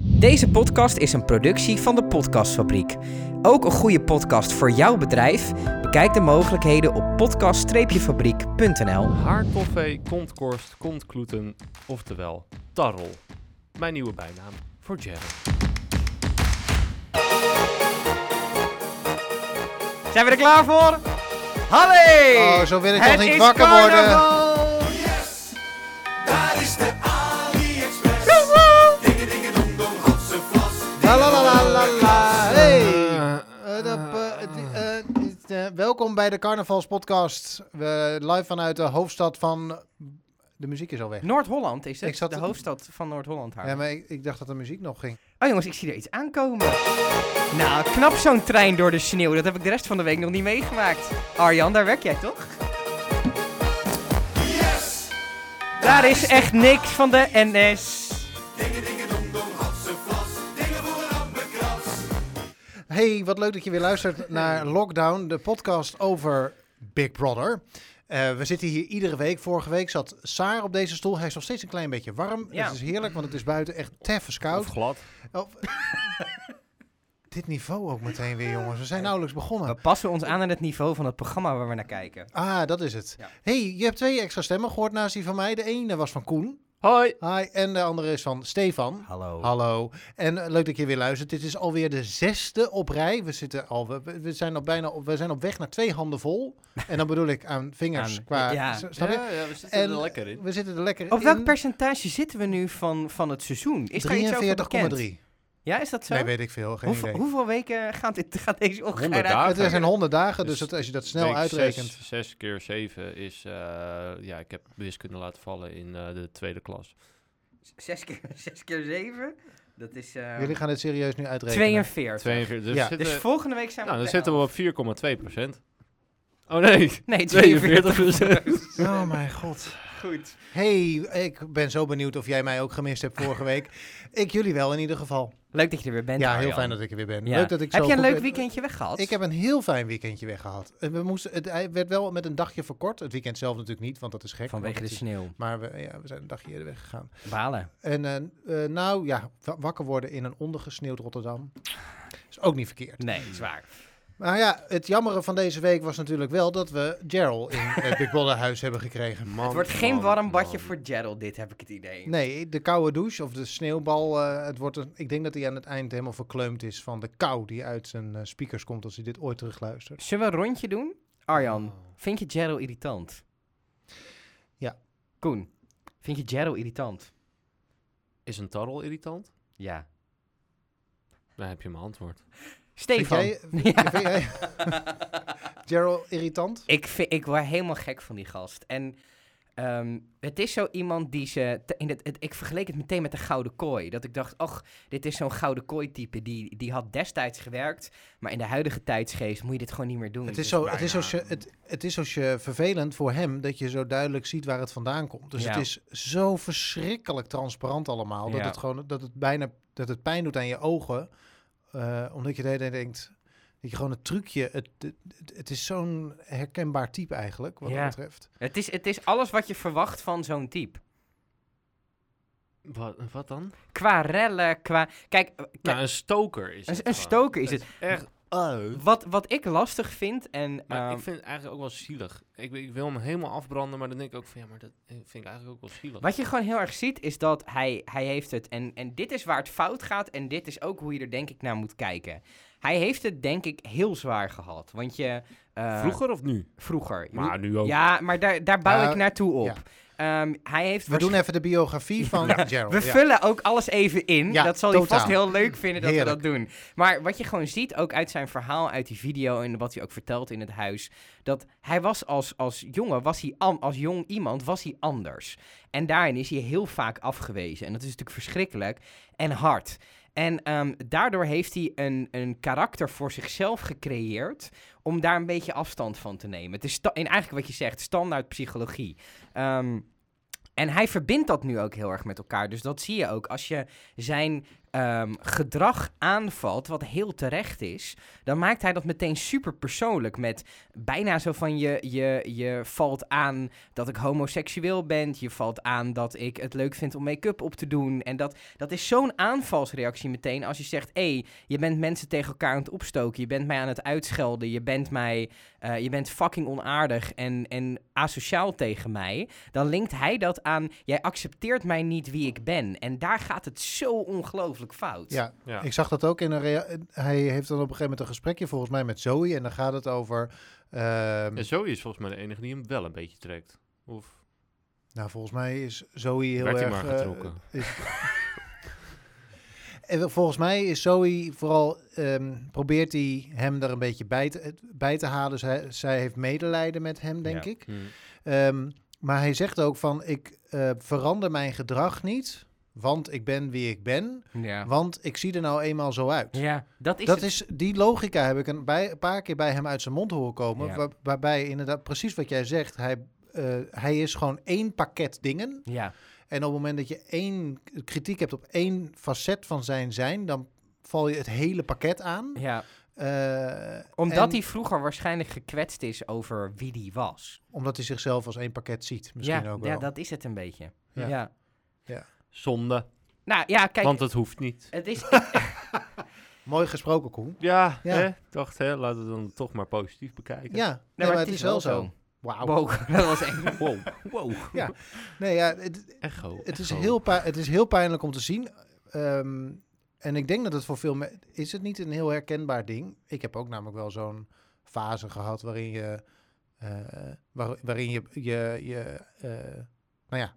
Deze podcast is een productie van de Podcastfabriek. Ook een goede podcast voor jouw bedrijf? Bekijk de mogelijkheden op podcast-fabriek.nl. Haartoffee, kontkorst, kontkloeten, oftewel tarrel. Mijn nieuwe bijnaam voor Jerry. Zijn we er klaar voor? Halle! Oh, zo wil ik nog niet wakker worden. Daar is de AliExpress. Dikke dikke dong dong, hotse vlas. La la la la la la. Hey. Eh, dat, eh, het- eh, het, eh, welkom bij de Carnavalspodcast. We live vanuit de hoofdstad van. De muziek is al weg. Noord-Holland is het, Ik zat- de hoofdstad van Noord-Holland. haar. Ja, maar ik, ik dacht dat de muziek nog ging. Oh jongens, ik zie er iets aankomen. Nou, knap zo'n trein door de sneeuw. Dat heb ik de rest van de week nog niet meegemaakt. Arjan, daar werk jij toch? Daar is echt niks van de NS. Dikke dikke dong dong, hotse vlas. Dingen voor een ambekrans. Hey, wat leuk dat je weer luistert naar Lockdown, de podcast over Big Brother. Eh, we zitten hier iedere week. Vorige week zat Saar op deze stoel. Hij is nog steeds een klein beetje warm. Dus Ja. Het is heerlijk, want het is buiten echt teffens koud. Of glad. Of- Dit niveau ook meteen weer, jongens. We zijn nauwelijks begonnen. We passen ons aan aan het niveau van het programma waar we naar kijken. Ah, dat is het. Ja. hey, je hebt twee extra stemmen gehoord naast die van mij. De ene was van Koen. Hoi! Hi. En de andere is van Stefan. Hallo. Hallo. En eh, leuk dat je weer luistert. Dit is alweer de zesde op rij. We, zitten al, we- we, we, zijn, al bijna op, we zijn op weg naar twee handen vol. En dan bedoel ik aan vingers Aan- qua... ja. s- Snap je? we zitten En We zitten er lekker Op in. welk percentage zitten we nu van, van het seizoen? Is daar iets over bekend? 43,3. Ja, is dat zo? Nee, weet ik veel. Geen hoeveel, idee. hoeveel weken gaat, dit, gaat deze ochtend Honderd eruit? dagen. Het zijn 100 dagen, dus Dus dat, als je dat snel uitrekent... Zes, zes keer zeven is, eh, ja, ik heb wiskunde laten vallen in eh, de tweede klas. Zes keer, zes keer zeven? Dat is eh, Jullie gaan dit serieus nu uitrekenen. 42. 42. Dus Ja. zitten, Dus volgende week zijn we nou, dan op de zitten we op helft. 4,2 Oh nee, Nee, 42 Oh mijn god. Goed. Hey, ik ben zo benieuwd of jij mij ook gemist hebt vorige week. ik jullie wel in ieder geval. Leuk dat je er weer bent. ja, heel Arjan. fijn dat ik er weer ben. Ja. Leuk dat ik Heb zo je een goed leuk ben. weekendje weg gehad? Ik heb een heel fijn weekendje weggehad. En We moesten, het hij werd wel met een dagje verkort. Het weekend zelf natuurlijk niet, want dat is gek. Vanwege want de het is- sneeuw. Maar we, ja, we zijn een dagje eerder weggegaan. Balen. En eh, eh, nou ja, wa- wakker worden in een ondergesneeuwd Rotterdam. Is ook niet verkeerd. Nee, zwaar. Maar ja, het jammere van deze week was natuurlijk wel dat we Gerald in het Big Brother huis hebben gekregen. Het wordt geen warm badje voor Gerald, dit heb ik het idee. Nee, de koude douche of de sneeuwbal. eh, het wordt een, ik denk dat hij aan het eind helemaal verkleumd is van de kou die uit zijn eh, speakers komt als hij dit ooit terugluistert. Zullen we een rondje doen? Oh. Arjan, vind je Gerald irritant? Ja. Koen, vind je Gerald irritant? Is een tarrel irritant? Ja. Dan heb je mijn antwoord. Vind Stefan. jij, vind jij Gerald irritant? Ik, vind, ik word helemaal gek van die gast. En ehm, het is zo iemand die ze. te- in het, het- ik vergeleek het meteen met de gouden kooi. Dat ik dacht, och, dit is zo'n gouden kooi type. Die, die had destijds gewerkt. Maar in de huidige tijdsgeest moet je dit gewoon niet meer doen. Het Dus is, zo, het, is zo, bijna- het, het is zo sje- vervelend voor hem dat je zo duidelijk ziet waar het vandaan komt. Dus Ja. het is zo verschrikkelijk transparant allemaal. Dat Ja. het gewoon dat het bijna dat het pijn doet aan je ogen. eh, omdat je de hele tijd denkt. Dat je gewoon het trucje. Het, het, het is zo'n herkenbaar type eigenlijk, wat Ja. dat betreft. Het is, het is alles wat je verwacht van zo'n type. Wat, wat dan? Qua rellen, qua. Kijk, eh, kijk, Nou, een stoker is een, het een gewoon. stoker is Het het. Echt uit. Wat, wat ik lastig vind en. Maar ehm, ik vind het eigenlijk ook wel zielig. Ik, ik wil hem helemaal afbranden, maar dan denk ik ook van ja, maar dat eh, vind ik eigenlijk ook wel zielig. Wat je gewoon heel erg ziet is dat hij, hij heeft het. En, en dit is waar het fout gaat. En dit is ook hoe je er denk ik naar moet kijken. Hij heeft het denk ik heel zwaar gehad. Want je... eh, Vroeger of nu? Vroeger. Je Maar moet- nu ook. Ja, maar daar, daar bouw Ja, ik naartoe op. ja. Ehm, hij heeft We doen waarsch- even de biografie van Gerald. we ja. vullen ook alles even in. Ja, dat zal hij totaal. vast heel leuk vinden dat Heerlijk. we dat doen. Maar wat je gewoon ziet, ook uit zijn verhaal, uit die video en wat hij ook vertelt in het huis. Dat hij was als, als jongen, was hij an- als jong iemand, was hij anders. En daarin is hij heel vaak afgewezen. En dat is natuurlijk verschrikkelijk en hard. En ehm, daardoor heeft hij een, een karakter voor zichzelf gecreëerd om daar een beetje afstand van te nemen. Het is sta- en eigenlijk wat je zegt, standaard psychologie. Ehm, en hij verbindt dat nu ook heel erg met elkaar. Dus dat zie je ook. Als je zijn ehm, gedrag aanvalt, wat heel terecht is, dan maakt hij dat meteen super persoonlijk. Met bijna zo van je, je, je valt aan dat ik homoseksueel ben. Je valt aan dat ik het leuk vind om make-up op te doen. En dat, dat is zo'n aanvalsreactie meteen als je zegt: hé, hey, je bent mensen tegen elkaar aan het opstoken. Je bent mij aan het uitschelden. Je bent mij. eh, je bent fucking onaardig en, en asociaal tegen mij. Dan linkt hij dat aan. Jij accepteert mij niet wie ik ben. En daar gaat het zo ongelooflijk fout. Ja, Ja. ik zag dat ook in een. rea- Hij heeft dan op een gegeven moment een gesprekje volgens mij met Zoe. En dan gaat het over. ehm, En Zoe is volgens mij de enige die hem wel een beetje trekt. Of Nou, volgens mij is Zoe heel werd hij erg. maar eh, getrokken. en wel, volgens mij is Zoe vooral. ehm, probeert hij hem er een beetje bij te, het- bij te halen. Dus hij- zij heeft medelijden met hem, denk Ja. ik. Hmm. Ehm, maar hij zegt ook van: ik eh, verander mijn gedrag niet. Want ik ben wie ik ben. Ja. Want ik zie er nou eenmaal zo uit. Ja, dat is dat het. is, die logica heb ik een, bij, een paar keer bij hem uit zijn mond horen komen. Ja. waar- waarbij inderdaad precies wat jij zegt. Hij, eh, hij is gewoon één pakket dingen. Ja, En op het moment dat je één kritiek hebt op één facet van zijn zijn, dan val je het hele pakket aan. ja. Eh, Omdat en hij vroeger waarschijnlijk gekwetst is over wie die was. Omdat hij zichzelf als één pakket ziet. Misschien ja, ook wel. ja, dat is het een beetje. Ja. Ja. Zonde, Nou ja, kijk, want het hoeft niet. het is... Mooi gesproken, Koen. Ja, Ja. Hè? dacht hè, laten we dan toch maar positief bekijken. Ja, nee, maar het is wel zo. Wauw. Wow, dat was echt... Wow, wow. Ja. Nee, ja, het, Echo, het, is echo. heel pijn- het is heel pijnlijk om te zien. Ehm, en ik denk dat het voor veel mensen... Is het niet een heel herkenbaar ding? Ik heb ook namelijk wel zo'n fase gehad waarin je... eh, waar- waarin je... je, je eh, nou ja,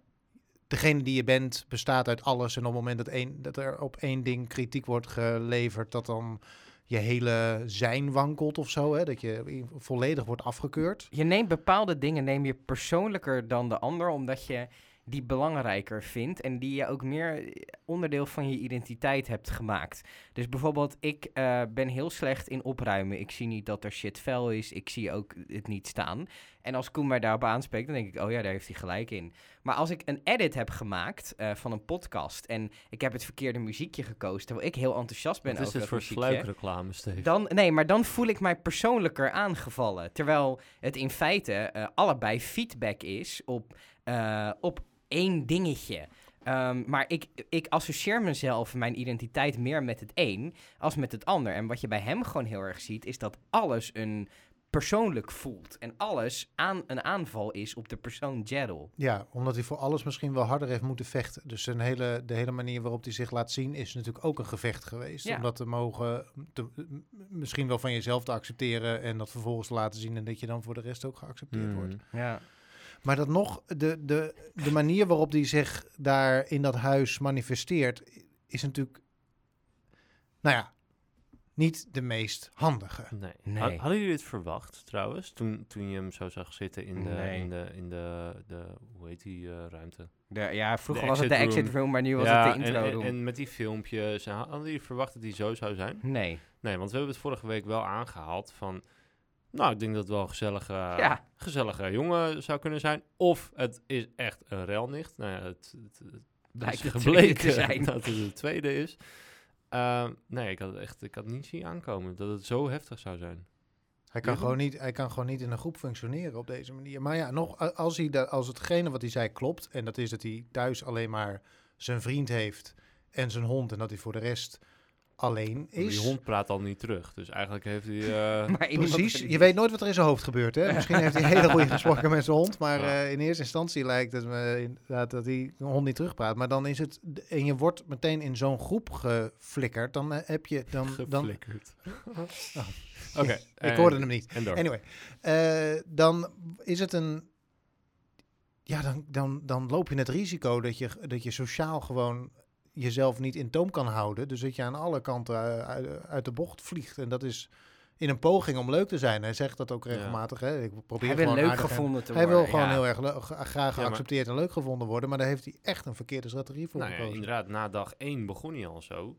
degene die je bent bestaat uit alles. En op het moment dat, één, dat er op één ding kritiek wordt geleverd... dat dan je hele zijn wankelt of zo. Hè? Dat je volledig wordt afgekeurd. Je neemt bepaalde dingen neem je persoonlijker dan de ander, omdat je die belangrijker vindt en die je ook meer eh, onderdeel van je identiteit hebt gemaakt. Dus bijvoorbeeld, ik eh, ben heel slecht in opruimen. Ik zie niet dat er shit vuil is. Ik zie ook het niet staan. En als Koen mij daarop aanspreekt, dan denk ik, oh ja, daar heeft hij gelijk in. Maar als ik een edit heb gemaakt eh, van een podcast en ik heb het verkeerde muziekje gekozen, terwijl ik heel enthousiast ben Wat is over dit dat voor muziekje. sluikreclame, Steven? Dan, nee, maar dan voel ik mij persoonlijker aangevallen. Terwijl het in feite eh, allebei feedback is op, eh, op één dingetje. Ehm, maar ik, ik associeer mezelf, mijn identiteit, meer met het een als met het ander. En wat je bij hem gewoon heel erg ziet, is dat alles een persoonlijk voelt. En alles aan, een aanval is op de persoon Gerald. Ja, omdat hij voor alles misschien wel harder heeft moeten vechten. Dus zijn hele, de hele manier waarop hij zich laat zien is natuurlijk ook een gevecht geweest. Ja. Om dat te mogen, te, m- misschien wel van jezelf te accepteren en dat vervolgens te laten zien en dat je dan voor de rest ook geaccepteerd Hmm. wordt. Ja. Maar dat nog, de, de, de manier waarop hij zich daar in dat huis manifesteert is natuurlijk, nou ja, niet de meest handige. Nee. Nee. Ha- Hadden jullie dit verwacht trouwens, toen, toen je hem zo zag zitten in de, Nee. in de, in de, de hoe heet die eh, ruimte? ja, vroeger De was het de exit exit room, room. maar nu was Ja, het de intro en, en, room. en met die filmpjes, en ha- hadden jullie verwacht dat die zo zou zijn? nee. Nee, want we hebben het vorige week wel aangehaald van... Nou, ik denk dat het wel een gezellige, Ja. gezellige jongen zou kunnen zijn. Of het is echt een relnicht. Nou ja, het, het, het Blijkt is het tweede te gebleken zijn. dat het de tweede is. Eh, nee, ik had, het echt, ik had niet zien aankomen dat het zo heftig zou zijn. Hij kan, Ja. gewoon niet, hij kan gewoon niet in een groep functioneren op deze manier. Maar ja, nog, a- als, hij da- als hetgene wat hij zei klopt, en dat is dat hij thuis alleen maar zijn vriend heeft en zijn hond, en dat hij voor de rest alleen Want is. Die hond praat al niet terug. Dus eigenlijk heeft hij... eh, Maar in ieder Precies, geval- je weet nooit wat er in zijn hoofd gebeurt. Hè? Misschien heeft hij hele goede gesprekken met zijn hond, maar Ja. eh, in eerste instantie lijkt het me inderdaad dat hij de hond niet terugpraat. Maar dan is het, en je wordt meteen in zo'n groep geflikkerd, dan eh, heb je, dan, dan geflikkerd. Oké. ik hoorde hem niet. Oh. En door. Anyway, eh, dan is het een. Ja, dan, dan, dan loop je het risico dat je, dat je sociaal gewoon jezelf niet in toom kan houden. Dus dat je aan alle kanten eh, uit, uit de bocht vliegt. En dat is in een poging om leuk te zijn. Hij zegt dat ook regelmatig. Hè? Ik probeer Hij wil gewoon leuk aardig en- gevonden te Hij worden. wil gewoon ja. heel erg le- gra- graag Ja, maar- geaccepteerd en leuk gevonden worden. Maar daar heeft hij echt een verkeerde strategie voor Nou ja, gekozen. inderdaad, na dag één begon hij al zo.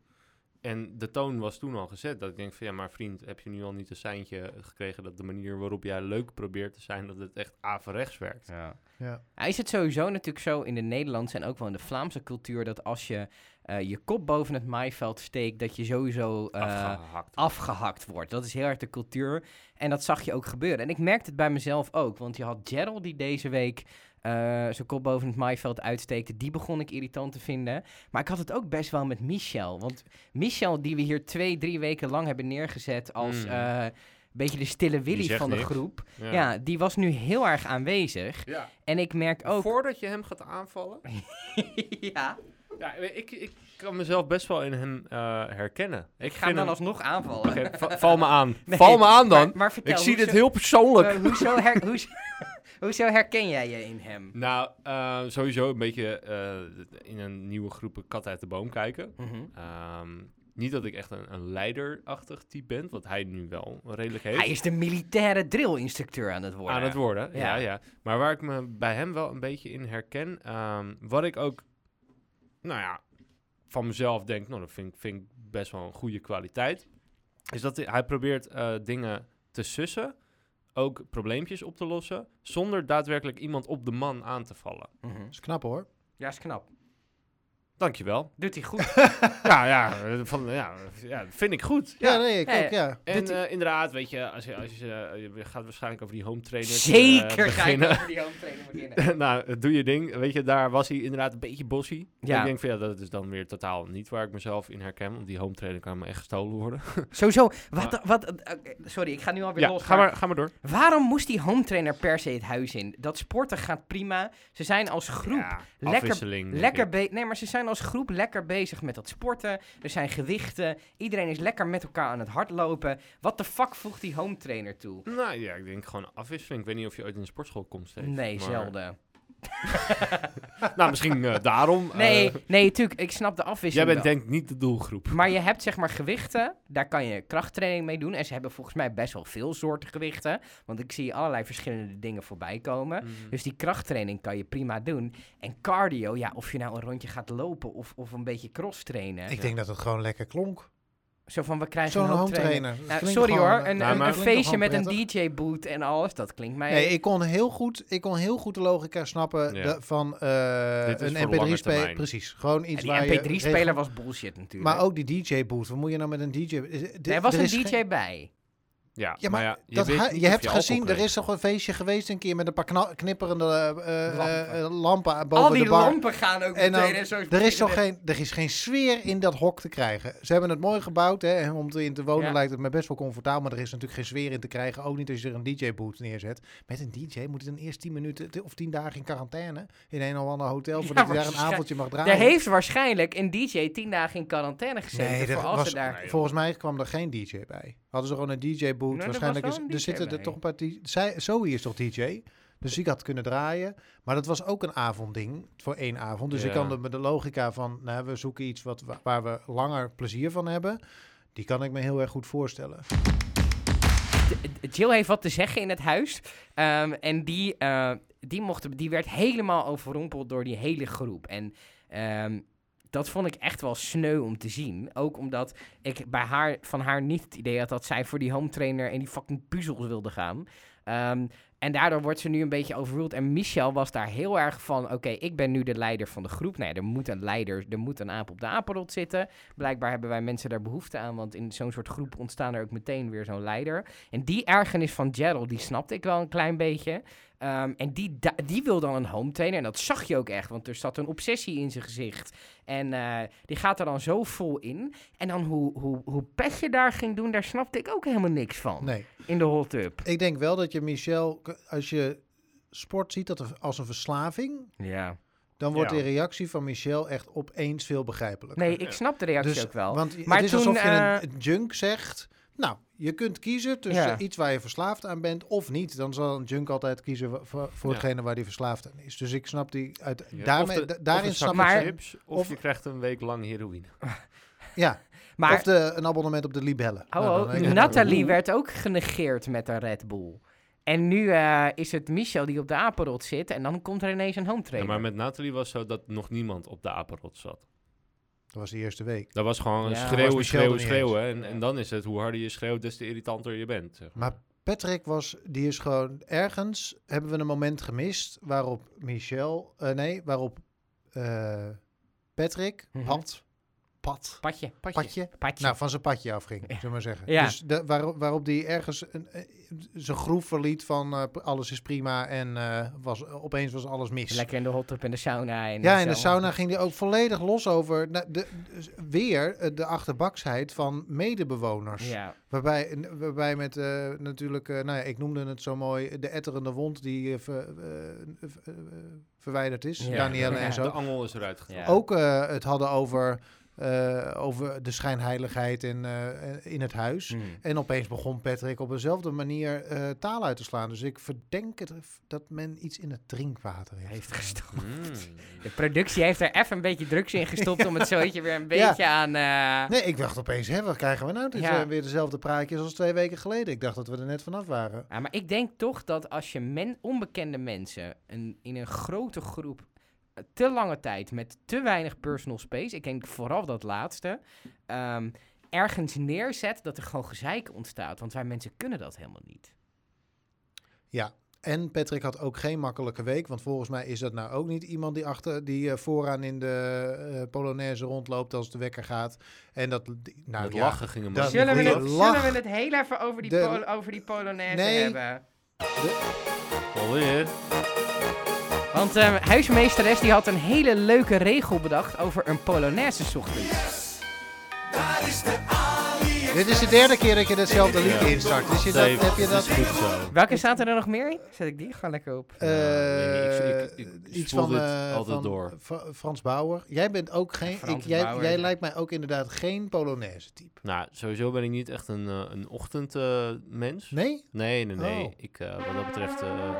En de toon was toen al gezet. Dat ik denk van ja, maar vriend, heb je nu al niet een seintje gekregen dat de manier waarop jij leuk probeert te zijn, dat het echt averechts werkt? Ja. Ja. Hij Nou, is het sowieso natuurlijk zo in de Nederlandse en ook wel in de Vlaamse cultuur dat als je eh, je kop boven het maaiveld steekt, dat je sowieso eh, Afgehakt. afgehakt wordt. Dat is heel erg de cultuur. En dat zag je ook gebeuren. En ik merkte het bij mezelf ook. Want je had Gerald die deze week eh, zijn kop boven het maaiveld uitsteekte. Die begon ik irritant te vinden. Maar ik had het ook best wel met Michel. Want Michel, die we hier twee, drie weken lang hebben neergezet als... Mm. eh, een beetje de stille Willy zegt van de niks. groep. Ja. die was nu heel erg aanwezig. Ja. En ik merk ook... Voordat je hem gaat aanvallen. ja, Ja, ik, ik kan mezelf best wel in hem eh, herkennen. Ik ik ga hem dan hem- alsnog aanvallen. Oké, va- val me aan. Nee, val me aan dan. Maar, maar vertel, ik zie dit hoezo- heel persoonlijk. eh, hoezo, her- hoezo, hoezo herken jij je in hem? Nou, eh, sowieso een beetje eh, in een nieuwe groep een kat uit de boom kijken. Mhm. Ehm, niet dat ik echt een, een leiderachtig type ben, wat hij nu wel redelijk heeft. Hij is de militaire drillinstructeur aan het worden. aan het worden, ja. Ja. ja, Maar waar ik me bij hem wel een beetje in herken, ehm, wat ik ook, nou ja, van mezelf denk, nou, dat vind, ik- vind ik best wel een goede kwaliteit, is dat hij, hij probeert eh, dingen te sussen, ook probleempjes op te lossen, zonder daadwerkelijk iemand op de man aan te vallen. Mhm. is knap hoor. Ja, is knap. Dankjewel. Doet hij goed. ja, ja, eh, van, ja, ja, vind ik goed. Ja, nee, ik Ja, ja. ook, ja. En eh, inderdaad, weet je, als je, als je, eh, je gaat waarschijnlijk over die home trainer Zeker ga ik beginnen. over die home trainer beginnen. nou, doe je ding. Weet je, daar was hij inderdaad een beetje bossy. Ja. Ik denk van ja, dat is dan weer totaal niet waar ik mezelf in herken. Want die home trainer kan me echt gestolen worden. Sowieso, wat, wat, eh, oké, sorry, ik ga nu alweer ja, los. ga maar, ga maar door. Waarom moest die home trainer per se het huis in? Dat sporten gaat prima. Ze zijn als groep Ja, lekker- afwisseling, denk lekker ik. bezig. Nee, maar ze zijn als groep lekker bezig met dat sporten. Er zijn gewichten. Iedereen is lekker met elkaar aan het hardlopen. Wat de fuck voegt die home trainer toe? Nou ja, ik denk gewoon afwisseling. Ik weet niet of je ooit in een sportschool komt steeds. Nee, maar- zelden. Nou, misschien eh, daarom. eh, Nee, nee, tuurlijk. Ik snap de jij afwisseling. bent wel. denk ik niet de doelgroep. Maar je hebt zeg maar gewichten, daar kan je krachttraining mee doen. En ze hebben volgens mij best wel veel soorten gewichten. Want ik zie allerlei verschillende dingen voorbij komen. Mm. Dus die krachttraining kan je prima doen. En cardio, ja, of je nou een rondje gaat lopen of, of een beetje cross trainen. Ik denk dat het gewoon lekker klonk. Zo van, we krijgen Zo'n een home home trainer. trainer. Dat Nou, klinkt sorry gewoon, hoor, eh, een, Nou, een- maar- een Klinkt toch feestje met gewoon een DJ-boot en alles, dat klinkt mij... Nee, ik kon heel goed, ik kon heel goed de logica snappen Ja. de- van eh, Dit is een voor de lange MP3-speler. termijn. Precies, gewoon En iets waar die je... regel- MP3-speler was bullshit natuurlijk. Maar ook die DJ-boot. Wat moet je nou met een DJ... Is- d- er was er een is DJ geen- bij. Ja, Ja, maar, je, dat weet ha- niet je of hebt alcohol gezien, er kreeg. is toch een feestje geweest een keer met een paar kna- knipperende eh, eh, eh, lampen aan- boven Al die de bar. lampen gaan ook En dan- meteen. en zo Er is, toch geen, er is geen sfeer in dat hok te krijgen. Ze hebben het mooi gebouwd. Hè, en om te- in te wonen Ja. lijkt het me best wel comfortabel. Maar er is natuurlijk geen sfeer in te krijgen. Ook niet als je er een DJ-boot neerzet. Met een DJ moet hij dan eerst 10 minuten t- of 10 dagen in quarantaine. In een of ander hotel. Ja, Voordat hij daar een waarschijn- avondje mag draaien. Er heeft waarschijnlijk een DJ tien dagen in quarantaine gezeten. Nee, dat voor als was- ze daar... Nee, joh. Volgens mij kwam er geen DJ bij. Hadden ze gewoon een DJ-boot. Nee, er Waarschijnlijk was is, wel een er DJ zitten bij. er toch een paar. die- Zij, Zoe is toch DJ? Dus ik had kunnen draaien. Maar dat was ook een avondding. Voor één avond. Dus ik Ja. kan er met de logica van. Nou, we zoeken iets wat, wa- waar we langer plezier van hebben. Die kan ik me heel erg goed voorstellen. D- Jill heeft wat te zeggen in het huis. Ehm, en die, eh, die, mocht, die werd helemaal overrompeld door die hele groep. En ehm, dat vond ik echt wel sneu om te zien. Ook omdat ik bij haar, van haar niet het idee had dat zij voor die home trainer en die fucking puzzels wilde gaan. Ehm, en daardoor wordt ze nu een beetje overruled. En Michel was daar heel erg van: oké, ik ben nu de leider van de groep. Nee, er moet een leider, er moet een aap op de apenrot zitten. Blijkbaar hebben wij mensen daar behoefte aan, want in zo'n soort groep ontstaan er ook meteen weer zo'n leider. En die ergernis van Gerald, die snapte ik wel een klein beetje. Ehm, en die, da- die wil dan een home trainer. En dat zag je ook echt, want er zat een obsessie in zijn gezicht. En eh, die gaat er dan zo vol in. En dan hoe, hoe, hoe Petje daar ging doen, daar snapte ik ook helemaal niks van. Nee. In de hot tub. Ik denk wel dat je Michel. k- Als je sport ziet dat er- als een verslaving. Ja. Dan wordt Ja. de reactie van Michel echt opeens veel begrijpelijker. Nee, ik snap de reactie Dus- ook wel. Want Maar het is toen, alsof je eh, een junk zegt. Nou, je kunt kiezen tussen Ja. iets waar je verslaafd aan bent of niet. Dan zal een junk altijd kiezen wa- voor, voor Ja. hetgene waar hij verslaafd aan is. Dus ik snap die. Uit, Ja. daarmee, Of de- da- daarin of een snap zak Maar- ik. zijn- chips, of, of- je krijgt een week lang heroïne. Ja, maar of de, een abonnement op de libellen. Oh, Nou, oh, dan- ja. Nathalie werd ook genegeerd met een Red Bull. En nu eh, is het Michel die op de apenrot zit. En dan komt er ineens een home Ja, trainer. maar met Nathalie was zo dat nog niemand op de apenrot zat. Dat was de eerste week. Dat was gewoon Ja, was schreeuwen, Michel schreeuwen, er niet eens. schreeuwen. En, en dan is het, hoe harder je schreeuwt, des te irritanter je bent. zeg maar. Maar Patrick was, die is gewoon ergens hebben we een moment gemist waarop Michel, eh, nee, waarop eh, Patrick Mhm. pad, pad, Patje. Patje. padje, nou van zijn padje afging, Ja. zullen we maar zeggen. Ja. Dus de, waarop, waarop die ergens een, eh, zijn groef verliet van eh, alles is prima en eh, was opeens was alles mis. Lekker in de hot tub en de sauna. En Ja, zo. in de sauna ging hij ook volledig los over nou, de, dus weer eh, de achterbaksheid van medebewoners. Ja, Waarbij, n- waarbij met eh, natuurlijk, eh, nou ja, ik noemde het zo mooi, de etterende wond die eh, ver- eh, ver- eh, verwijderd is, Ja. Danielle Ja. en De zo. angel is eruit getrokken. ja. Ook eh, het hadden over, eh, over de schijnheiligheid in, eh, in het huis. Hmm. En opeens begon Patrick op dezelfde manier eh, taal uit te slaan. Dus ik verdenk het, dat men iets in het drinkwater heeft. Heeft gedaan. gestopt. Mm. De productie heeft er even een beetje drugs in gestopt om het zootje weer een beetje aan... eh, Nee, ik dacht opeens, hè, wat krijgen we nou? Dit Ja. zijn weer dezelfde praatjes als twee weken geleden. Ik dacht dat we er net vanaf waren. Ja, maar ik denk toch dat als je men, onbekende mensen een, in een grote groep eh, te lange tijd met te weinig personal space, ik denk vooral dat laatste, ehm, ergens neerzet dat er gewoon gezeik ontstaat. Want wij mensen kunnen dat helemaal niet. En Patrick had ook geen makkelijke week, want volgens mij is dat nou ook niet iemand die, achter, die eh, vooraan in de eh Polonaise rondloopt als de wekker gaat. En dat, die- nou Met ja, lachen gingen dat- mensen. Zullen we, goeie het, lach. zullen we het heel even over die, De- Pol- over die Polonaise Nee. hebben? Alweer. Want ehm huismeesteres die had een hele leuke regel bedacht over een Polonaise ochtend. Daar is de Ali. Dit is de derde keer dat je datzelfde lied instart. Dus je dat, Dave, heb je dat... Het is goed zo. Welke staat er dan nog meer in? Zet ik die gewoon lekker op. eh, Ja, Nou, ik- ik- ik iets spoel van, dit eh, altijd van door. Fra- Frans Bauer. Jij bent ook geen. Frans ik, jij, Bauer, jij ja. lijkt mij ook inderdaad geen Polonaise type. Nou, sowieso ben ik niet echt een, eh, een ochtendmens. Nee? nee, nee, nee. Oh. Ik, eh, wat dat betreft... eh,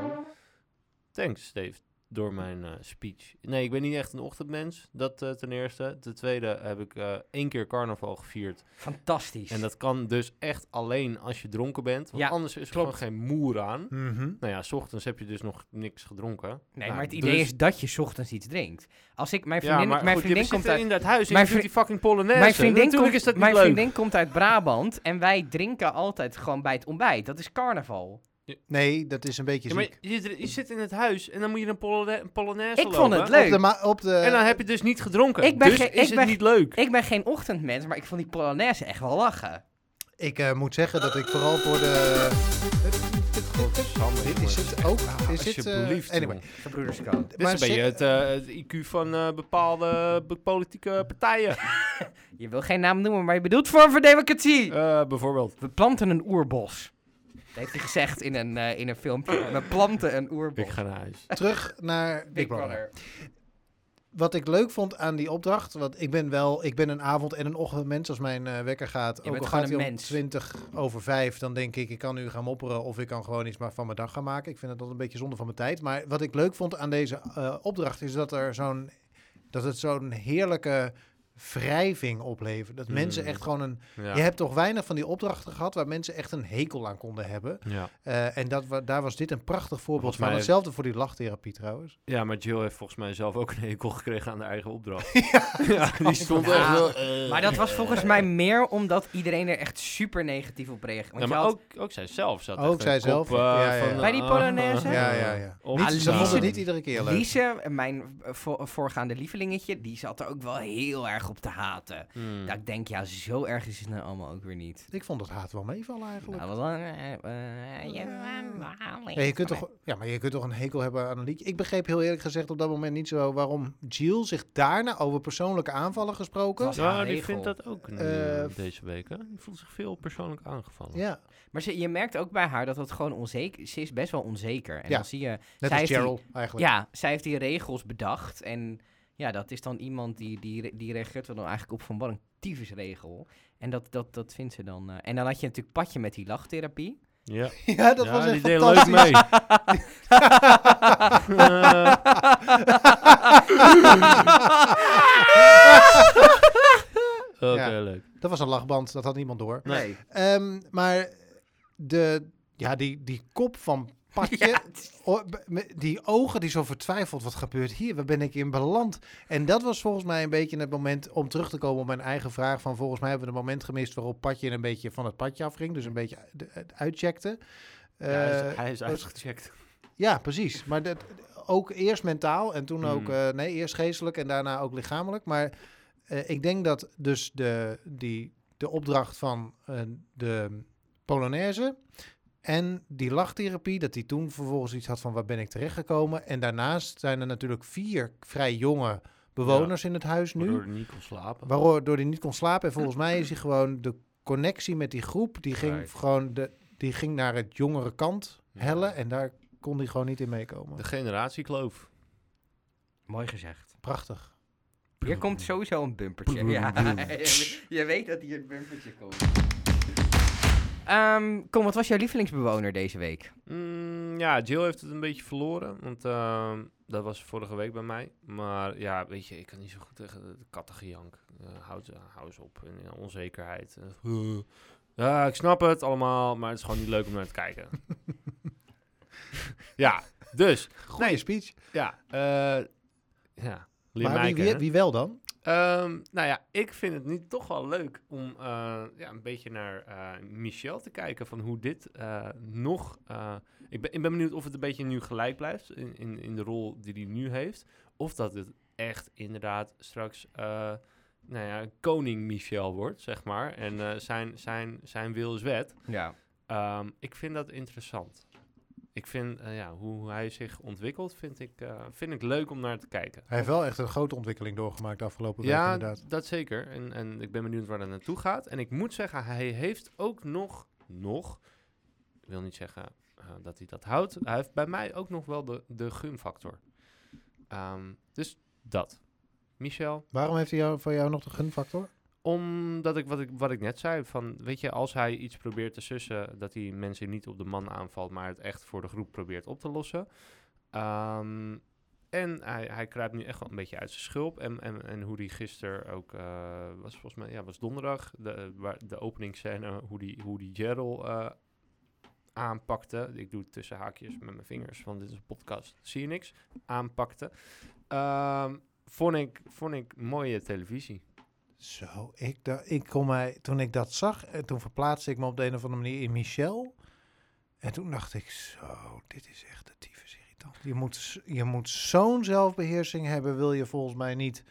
thanks, Dave, door mijn eh, speech. Nee, ik ben niet echt een ochtendmens. Dat eh, ten eerste. Ten tweede heb ik eh, één keer carnaval gevierd. Fantastisch. En dat kan dus echt alleen als je dronken bent. Want Ja, anders is er klopt. gewoon geen moer aan. Mhm. Nou ja, s ochtends heb je dus nog niks gedronken. Nee, Nou, maar het dus- idee is dat je 's ochtends iets drinkt. Als ik, mijn Ja, vriendin, maar mijn goed, vriendin je komt zit uit... in dat huis en Mijn je doet vri- die fucking Polonaise. Mijn vriendin, Natuurlijk komt, is dat niet mijn leuk. vriendin komt uit Brabant en wij drinken altijd gewoon bij het ontbijt. Dat is carnaval. Nee, dat is een beetje Ja, maar ziek. je, zit- je zit in het huis en dan moet je een Polona- een Polonaise Ik vond het lopen. leuk. Op de, ma- op de, En dan heb je dus niet gedronken. Ik ben dus geen- is ik het ben- niet leuk. Ik ben geen ochtendmens, maar ik vond die Polonaise echt wel lachen. Ik eh, moet zeggen dat ik vooral voor de. Godsamme, Dit jongens. is het ook. Is dit, eh, Ah, Alsjeblieft, anyway. jongen. Gebroederskant. Dit is een beetje ze- het, eh, het IQ van eh, bepaalde be- politieke partijen. Je wil geen naam noemen, maar je bedoelt Vorm voor Democratie. Eh, bijvoorbeeld. We planten een oerbos. Dat heeft hij gezegd in een, eh, in een filmpje. We planten een oerbos. Ik ga naar huis. terug naar Big, Brother. Wat ik leuk vond aan die opdracht, want ik ben wel, ik ben een avond- en een ochtendmens als mijn eh, wekker gaat. bent ook al gewoon gaat een hij om mens. 20 over 5, dan denk ik, ik kan nu gaan mopperen of ik kan gewoon iets maar van mijn dag gaan maken. Ik vind het altijd een beetje zonde van mijn tijd. Maar wat ik leuk vond aan deze eh, opdracht is dat er zo'n, dat het zo'n heerlijke wrijving oplevert. Dat Mm. mensen echt gewoon een, Ja. je hebt toch weinig van die opdrachten gehad waar mensen echt een hekel aan konden hebben. Ja. Eh, en dat, wa- daar was dit een prachtig voorbeeld Volgens van. mij- Hetzelfde voor die lachtherapie trouwens. ja, maar Jill heeft volgens mij zelf ook een hekel gekregen aan de eigen opdracht. ja, die stond Ja, echt wel... eh, Maar dat was volgens mij meer omdat iedereen er echt super negatief op reageerde. Want Ja, je maar had- ook, ook zij zelf zat Ook echt zij een zelf, kop, ja, eh, ja, ja. van, Bij die ah, Polonaise? Ja, ja, ja. Of Niet- Ze Ja. vonden het samen. niet iedere keer leuk. Lise, mijn eh, vo- voorgaande lievelingetje, die zat er ook wel heel erg op te haten. Hmm. Dat ik denk, ja, zo erg is het nou allemaal ook weer niet. Ik vond dat haat wel meevallen eigenlijk. Nou, wat dan, eh, eh, ja, Ja, je kunt toch, ja, maar je kunt toch een hekel hebben aan een liedje. Ik begreep heel eerlijk gezegd op dat moment niet zo waarom Jill zich daarna over persoonlijke aanvallen gesproken. Was- Ja, haar die regel. vindt dat ook nu, Eh, deze week. Hè? Die voelt zich veel persoonlijk aangevallen. Ja, Maar ze- je merkt ook bij haar dat het gewoon onzeker is. Ze is best wel onzeker. En Ja. dan zie je, net Zij als heeft die- Cheryl eigenlijk. ja, zij heeft die regels bedacht. En ja, dat is dan iemand die, die, re- die reageert wel dan eigenlijk op van wat een tyfusregel. En dat, dat, dat vindt ze dan. eh. en dan had je natuurlijk Patje met die lachtherapie. Ja, Ja, dat Ja, was die echt deed fantastisch. leuk mee. Eh, Eh. Oké, Ja. leuk. Dat was een lachband, dat had niemand door. Nee. Ehm, maar de, ja, die, die kop van padje. o- b- met Die ogen die zo vertwijfeld, wat gebeurt hier? Waar ben ik in beland? En dat was volgens mij een beetje het moment om terug te komen op mijn eigen vraag. Van volgens mij hebben we een moment gemist waarop padje een beetje van het padje afging. Dus een beetje u- de- het uitcheckte. Ja, hij, is, Eh, hij is uitgecheckt. ja, precies. Maar dat, ook eerst mentaal en toen ook, Mm. eh, nee, eerst geestelijk en daarna ook lichamelijk. Maar eh, ik denk dat dus de, die, de opdracht van eh, de Polonaise en die lachtherapie, dat die toen vervolgens iets had van waar ben ik terechtgekomen. En daarnaast zijn er natuurlijk vier vrij jonge bewoners in het huis nu. Waardoor hij niet kon slapen. Waardoor hij niet kon slapen. En volgens mij is hij gewoon de connectie met die groep. Die ging Right. gewoon de, die ging naar het jongere kant Ja. hellen. En daar kon hij gewoon niet in meekomen. De generatiekloof. Mooi gezegd. Prachtig. Hier komt sowieso een bumpertje. Ja, je weet dat hier een bumpertje komt. Ehm, kom, wat was jouw lievelingsbewoner deze week? Mm, ja, Jill heeft het een beetje verloren. Want ehm, dat was vorige week bij mij. Maar ja, weet je, ik kan niet zo goed tegen de kattengejank. Eh houd, hou eens op. En, ja, onzekerheid. Eh, ja, ik snap het allemaal, maar het is gewoon niet leuk om naar te kijken. ja, dus. Goeie speech. Ja, eh, ja. Leer Maar mij wie, wie, kennen. wie wel dan? Ehm, nou ja, ik vind het nu toch wel leuk om eh, ja, een beetje naar eh, Michel te kijken van hoe dit eh, nog... eh, ik, ben, ik ben benieuwd of het een beetje nu gelijk blijft in, in, in de rol die hij nu heeft. Of dat het echt inderdaad straks eh, nou ja, koning Michel wordt, zeg maar. En eh, zijn, zijn, zijn wil is wet. Ja. Ehm, ik vind dat interessant. Ik vind eh, ja, hoe hij zich ontwikkelt, vind ik, eh, vind ik leuk om naar te kijken. Hij heeft wel echt een grote ontwikkeling doorgemaakt de afgelopen Ja, week inderdaad. dat zeker. En, en ik ben benieuwd waar dat naartoe gaat. En ik moet zeggen, hij heeft ook nog, nog, ik wil niet zeggen eh, dat hij dat houdt. Hij heeft bij mij ook nog wel de, de gunfactor. Ehm, dus dat. Michel, Waarom heeft hij jou, voor jou nog de gunfactor? omdat ik wat, ik wat ik net zei, van weet je, als hij iets probeert te sussen, dat hij mensen niet op de man aanvalt, maar het echt voor de groep probeert op te lossen. Ehm, en hij, hij kruipt nu echt wel een beetje uit zijn schulp. En, en, en hoe die gisteren ook, eh, was volgens mij, ja, was donderdag, de, eh, waar, de openingsscène, hoe die, hoe die Gerald eh, aanpakte. Ik doe het tussen haakjes met mijn vingers, want dit is een podcast, zie je niks. Aanpakte. Ehm, vond, ik, vond ik mooie televisie. Zo, ik, da- ik kon mij, toen ik dat zag, en toen verplaatste ik me op de een of andere manier in Michel. En toen dacht ik, zo, dit is echt de tyfus irritant. Je moet, s- je moet zo'n zelfbeheersing hebben, wil je volgens mij niet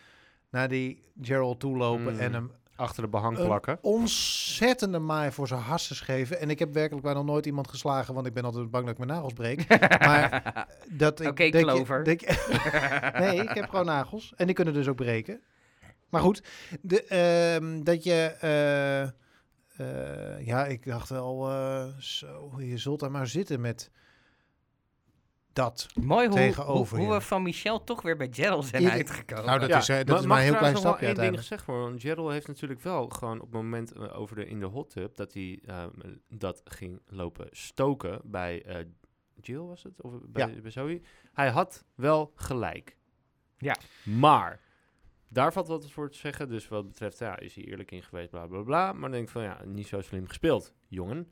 naar die Gerald toe lopen Mm. en hem Achter de behang Een- plakken. ontzettende maai voor zijn hasses geven. En ik heb werkelijk bijna nooit iemand geslagen, want ik ben altijd bang dat ik mijn nagels breek. Maar dat ik... Oké, dat je- Clover. dat ik- nee, ik heb gewoon nagels. En die kunnen dus ook breken. Maar goed, de, ehm, dat je... eh, eh, ja, ik dacht wel, eh, zo, je zult daar maar zitten met dat. Mooi hoe, Tegenover hoe, hoe je. we van Michel toch weer bij Gerald zijn Ieder- uitgekomen. Nou, dat is, eh, dat ma- is mag maar een heel klein trouwens nog wel stapje één ding uiteindelijk. gezegd worden. Want Gerald heeft natuurlijk wel gewoon op het moment eh, over de, in de hot tub... dat hij ehm, dat ging lopen stoken bij eh, Jill, was het? Of bij, bij Zoe. Hij had wel gelijk. Ja. Maar daar valt wat voor te zeggen. Dus wat betreft, ja, is hij eerlijk in geweest, bla, bla, bla. Maar dan denk ik van, ja, niet zo slim gespeeld, jongen.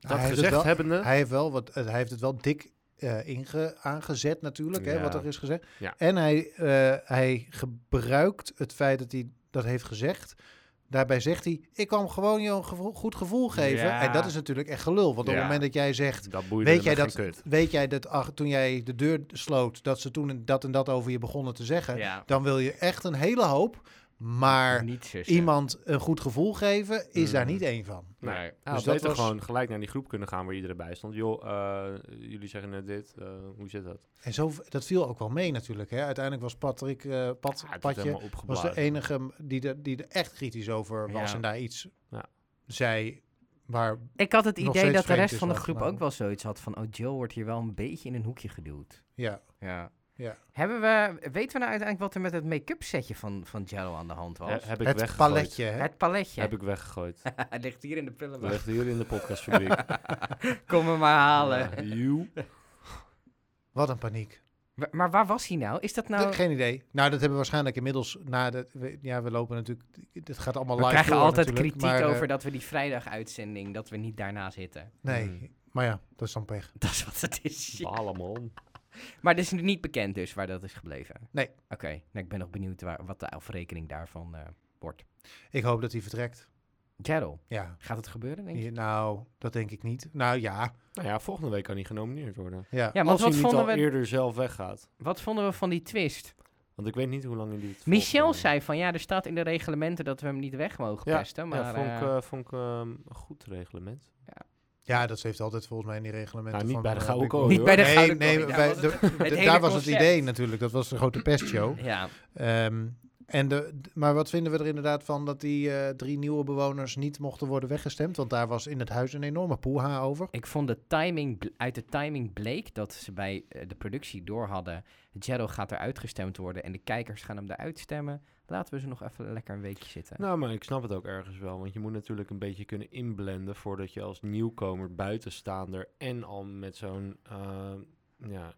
Dat Hij heeft het gezegd wel- hebbende... Hij heeft, wel wat, eh, hij heeft het wel dik eh, inge, aangezet natuurlijk, hè, Ja. wat er is gezegd. Ja. En hij, eh, hij gebruikt het feit dat hij dat heeft gezegd. Daarbij zegt hij, ik kwam gewoon je een gevo- goed gevoel geven. Ja. En dat is natuurlijk echt gelul. Want Ja. op het moment dat jij zegt, dat boeide weet me jij dat, geen kut. weet jij dat ach, toen jij de deur sloot, dat ze toen dat en dat over je begonnen te zeggen. Ja. Dan wil je echt een hele hoop. Maar Niet zussen. iemand een goed gevoel geven is daar Mhm. niet één van. Nee, Nee. hij Dus had dat beter was- gewoon gelijk naar die groep kunnen gaan waar iedereen bij stond. Joh, eh, jullie zeggen net dit, eh, hoe zit dat? En zo, dat viel ook wel mee natuurlijk. Hè. Uiteindelijk was Patrick, eh Pat, Ah, het werd Patje, helemaal was opgeblazen. de enige die er, die er echt kritisch over was Ja. en daar iets Ja. zei waar... Ik had het nog idee steeds dat de vreemd rest is van de wat groep gedaan. ook wel zoiets had van... Oh, Jill wordt hier wel een beetje in een hoekje geduwd. Ja, Ja. Ja. Hebben we, weten we nou uiteindelijk wat er met het make-up setje van, van Jello aan de hand was? He- heb ik het weggegooid. paletje. Hè? het paletje. Heb ik weggegooid. Hij ligt hier in de Dat prullenbak. ligt hier in de podcastfabriek. Kom hem maar halen. Ja, joe. Wat een paniek. Wa- Maar waar was hij nou? Is dat nou... Dat- Geen idee. Nou, dat hebben we waarschijnlijk inmiddels na de... we- ja, we lopen natuurlijk... Dit gaat allemaal We live krijgen door altijd natuurlijk, eh, kritiek maar, eh, over dat we die vrijdaguitzending, dat we niet daarna zitten. Nee, Mm. Maar ja, dat is dan pech. Dat is wat het is. ja. Balen, man. Maar het is nu niet bekend dus waar dat is gebleven. Nee. Oké, nou, ik ben nog benieuwd waar, wat de afrekening daarvan eh, wordt. Ik hoop dat hij vertrekt. Gerald, Ja. gaat het gebeuren denk je? Hier- nou, dat denk ik niet. Nou ja. Nou ja, volgende week kan hij genomineerd worden. Ja. Ja, want Als hij wat niet al vonden, we, eerder eh. zelf weggaat. wat vonden we van die twist? Want ik weet niet hoe lang hij dit Michel volgt. zei van ja, er staat in de reglementen dat we hem niet weg mogen Ja, pesten. Maar ja, vond ik, eh, eh, vond ik ehm, een goed reglement. ja, dat heeft altijd volgens mij in die reglementen. Nou, niet van, bij de eh, Gouden Big Kooi, niet hoor. bij de Nee, Gouden nee, Kooi, daar wij- was het- de- het Bowl. hele Daar was het concept. idee natuurlijk. Dat was de grote pestshow. Ja, Ehm, en de, d- maar wat vinden we er inderdaad van dat die eh, drie nieuwe bewoners niet mochten worden weggestemd? Want daar was in het huis een enorme poeha over. ik vond de timing, bl- uit de timing bleek dat ze bij eh, de productie door hadden. Jero gaat eruit gestemd worden en de kijkers gaan hem eruit stemmen. Laten we ze nog even lekker een weekje zitten. Nou, maar ik snap het ook ergens wel. Want je moet natuurlijk een beetje kunnen inblenden voordat je als nieuwkomer, buitenstaander en al met zo'n eh, ja,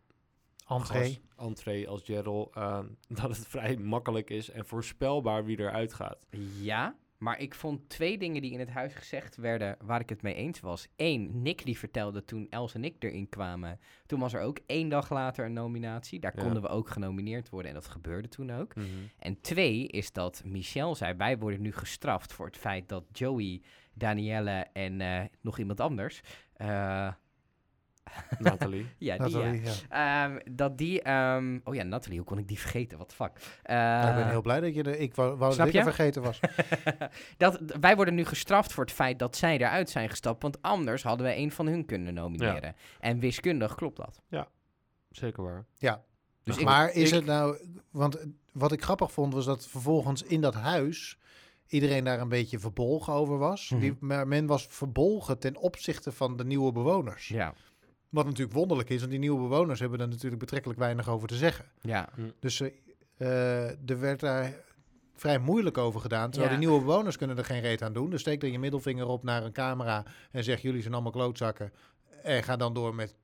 Entree. gast- entree als Gerald, eh, dat het vrij makkelijk is en voorspelbaar wie eruit gaat. Ja, maar ik vond twee dingen die in het huis gezegd werden waar ik het mee eens was. Eén, Nick die vertelde toen Els en ik erin kwamen. Toen was er ook één dag later een nominatie. Daar Ja. konden we ook genomineerd worden en dat gebeurde toen ook. Mhm. En twee is dat Michel zei, wij worden nu gestraft voor het feit dat Joey, Danielle en eh, nog iemand anders... eh, Nathalie. ja, Dat die, ja. wel- Nou, ja. Ehm, dat die... ehm, oh ja, Natalie, hoe kon ik die vergeten? Wat fuck. Nou, ik ben Eh, heel blij dat je er. Ik wou, wou Snap dat ik je? er vergeten was. dat, d- wij worden nu gestraft voor het feit dat zij eruit zijn gestapt. Want anders hadden wij een van hun kunnen nomineren. En wiskundig klopt dat. Zeker waar. Dus ik- maar is ik- het nou. Want eh, wat ik grappig vond was dat vervolgens in dat huis. iedereen daar een beetje verbolgen over was. Mhm. Die, maar men was verbolgen ten opzichte van de nieuwe bewoners. Ja, Wat natuurlijk wonderlijk is, want die nieuwe bewoners hebben daar natuurlijk betrekkelijk weinig over te zeggen. ja. Dus eh, eh, er werd daar vrij moeilijk over gedaan. Terwijl Ja. die nieuwe bewoners kunnen er geen reet aan doen. Dus steek dan je middelvinger op naar een camera en zeg jullie zijn allemaal klootzakken. En ga dan door met